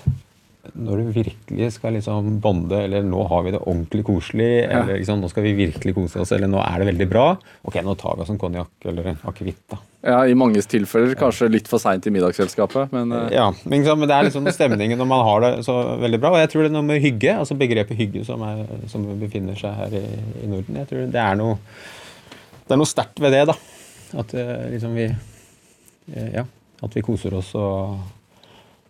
S4: Når du virkelig skal liksom bonde, eller 'nå har vi det ordentlig koselig', eller liksom, 'nå skal vi virkelig kose oss', eller 'nå er det veldig bra', ok, nå tar vi oss en konjakk eller en akevitt, da.
S2: Ja, I manges tilfeller kanskje litt for seint i middagsselskapet, men eh,
S4: Ja, men, ikke sant, men det er liksom den stemningen når man har det så veldig bra. Og jeg tror det er noe med hygge, altså begrepet hygge som, er, som befinner seg her i, i Norden. Jeg tror det er noe, det er noe sterkt ved det, da. At eh, liksom vi eh, Ja. At vi koser oss og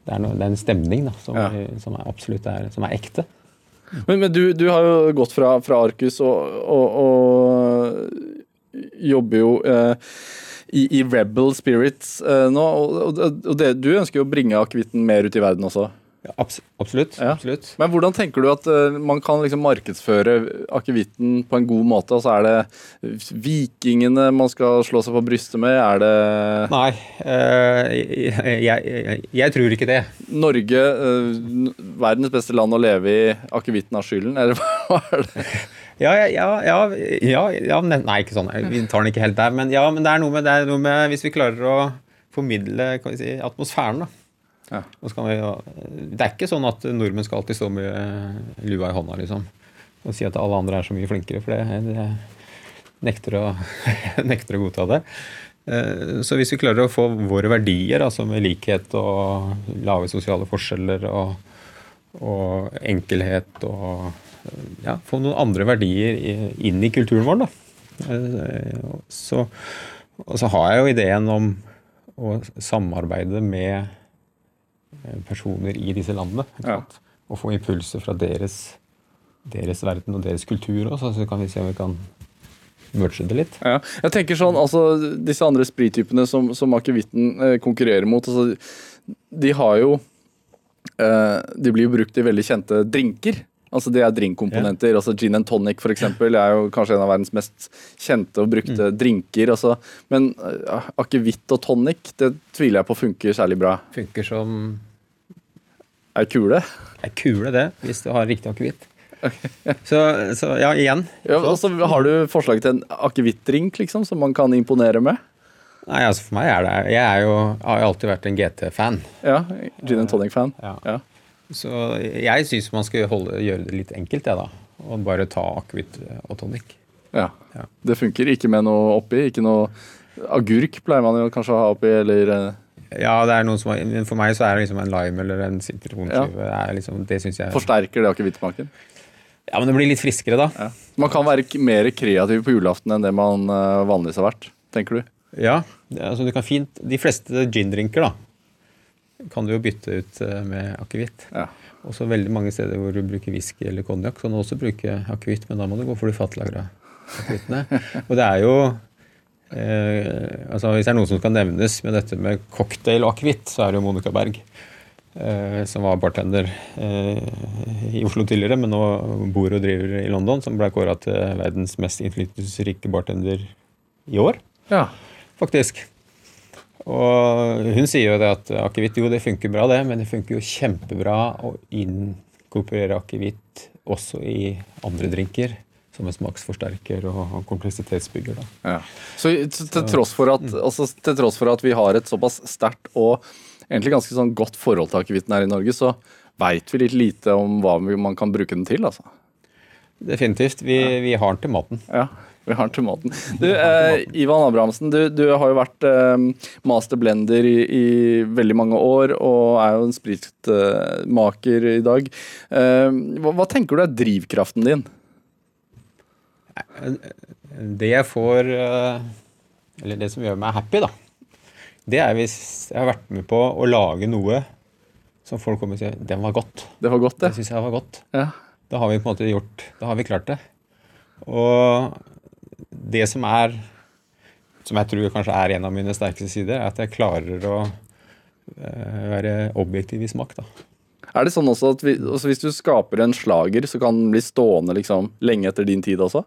S4: Det er, noe, det er en stemning da, som,
S2: Ja.
S4: vi- som er absolutt er, som er ekte.
S2: Men, men du, du har jo gått fra, fra Arcus og, og, og jobber jo eh, i, i Rebel Spirits eh, nå, og, og, og det, du ønsker jo å bringe akevitten mer ut i verden også.
S4: Ja, abs absolutt.
S2: Ja.
S4: absolutt.
S2: Men hvordan tenker du at eh, man kan liksom markedsføre akevitten på en god måte? Altså Er det vikingene man skal slå seg på brystet med? Er det
S4: Nei, eh, jeg, jeg, jeg, jeg tror ikke det.
S2: Norge, eh, n- verdens beste land å leve i, akevitten har skylden? Eller hva er det?
S4: Ja, ja, ja, ja, ja, ja ne- Nei, ikke sånn. Vi tar den ikke helt der. Men, ja, men det, er noe med, det er noe med Hvis vi klarer å formidle kan vi si, atmosfæren, da.
S2: Ja.
S4: Og så kan vi, jo- det er ikke sånn at nordmenn skal alltid stå med eh, lua i hånda liksom, og si at alle andre er så mye flinkere, for det, det nekter, å, nekter å godta det. Eh, Så hvis vi klarer å få våre verdier, altså med likhet og lave sosiale forskjeller og, og enkelhet og eh, ja, få noen andre verdier i- inn i kulturen vår, da. Eh, Så, og så har jeg jo ideen om å samarbeide med eh, personer i disse landene. Ikke
S2: Ja.
S4: sant? Og få impulser fra deres, deres verden og deres kultur også, så kan vi se om vi kan merge det litt.
S2: Ja, jeg tenker sånn, altså Disse andre sprittypene som, som akevitten eh, konkurrerer mot, altså, de har jo eh, De blir jo brukt i veldig kjente drinker. Altså Det er drinkkomponenter. altså Gin and tonic for eksempel, er jo kanskje en av verdens mest kjente og brukte drinker. altså Men eh, akevitt og tonic det tviler jeg på funker særlig bra.
S4: Funker som
S2: Er kule.
S4: ei kule, det, hvis du har riktig akevitt. Så, så ja, igjen.
S2: Ja, og så Har du forslag til en akevittdrink liksom, som man kan imponere med?
S4: Nei, altså for meg er det Jeg er jo, har jo alltid vært en GT-fan.
S2: Ja, Gin and tonic-fan.
S4: Ja.
S2: Ja.
S4: Så jeg syns man skal holde, gjøre det litt enkelt, jeg, da. Og bare ta akevitt og tonic.
S2: Ja.
S4: Ja.
S2: Det funker ikke med noe oppi. Ikke noe agurk pleier man jo kanskje å ha oppi, eller eh,
S4: Ja, det er noen som har, men for meg så er det liksom en lime eller en sitronskive. Det, er liksom, det syns jeg
S2: forsterker det akevittsmaken.
S4: Ja, men det blir litt friskere da.
S2: Ja. Man kan være k- mer kreativ på julaften enn det man eh, vanligvis har vært, tenker du?
S4: Ja, det er- altså du kan fint De fleste gindrinker da, kan du jo bytte ut eh, med akevitt.
S2: Ja.
S4: Også veldig mange steder hvor du bruker whisky eller konjakk, kan du også bruke akevitt, men da må du gå for de fatlagra akevittene. Og det er jo eh, altså Hvis det er noen som skal nevnes med dette med cocktail og akevitt, så er det jo Monica Berg. Eh, som var bartender eh, i Oslo tidligere, men nå bor og driver i London. Som ble kåra til verdens mest innflytelsesrike bartender i år
S2: Ja.
S4: faktisk. Og hun sier jo det at akevitt jo, det funker bra, det, men det funker jo kjempebra å inkorporere akevitt også i andre drinker. Som en smaksforsterker og kompleksitetsbygger. Da.
S2: Ja. Så i- t- til tross, for at, altså, til tross for at vi har et såpass sterkt og egentlig ganske sånn godt forhold til akevitten her i Norge, så veit vi litt lite om hva vi- man kan bruke den til, altså.
S4: Definitivt. Vi, vi har den til maten.
S2: Ja, vi har den til maten. Du, eh, Ivan Abrahamsen, du, du har jo vært eh, masterblender i, i veldig mange år og er jo en spritmaker i dag. Eh, hva, hva tenker du er drivkraften din?
S4: Det jeg får eh, Eller det som gjør meg happy, da, det er hvis jeg har vært med på å lage noe som folk kommer og sier 'Den var godt'.
S2: Det var godt,
S4: Det
S2: det.
S4: syns jeg var godt.
S2: Ja.
S4: Da har vi på en måte gjort Da har vi klart det. Og det som er Som jeg tror kanskje er en av mine sterkeste sider, er at jeg klarer å eh, være objektiv i smak, da.
S2: Er det sånn også at vi, også hvis du skaper en slager, så kan den bli stående liksom, lenge etter din tid også?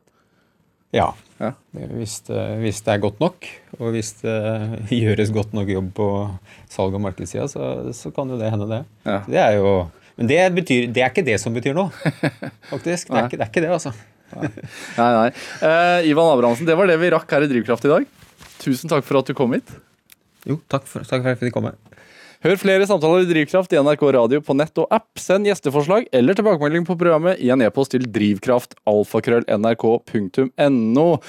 S4: Ja.
S2: Ja.
S4: Hvis det, hvis det er godt nok, og hvis det gjøres godt nok jobb på salg- og markedssida, så, så kan jo det hende, det.
S2: Ja.
S4: Så det er jo Men det, betyr, det er ikke det som betyr noe, faktisk. Det er, ikke, det er ikke det, altså.
S2: Nei, nei. Eh, Ivan Abrahamsen, det var det vi rakk her i Drivkraft i dag. Tusen takk for at du kom hit.
S4: Jo, takk for, takk for at jeg fikk komme.
S2: Hør flere samtaler i Drivkraft i NRK Radio på nett og app. Send gjesteforslag eller tilbakemelding på programmet i en e-post til drivkraftalfakrøllnrk.no.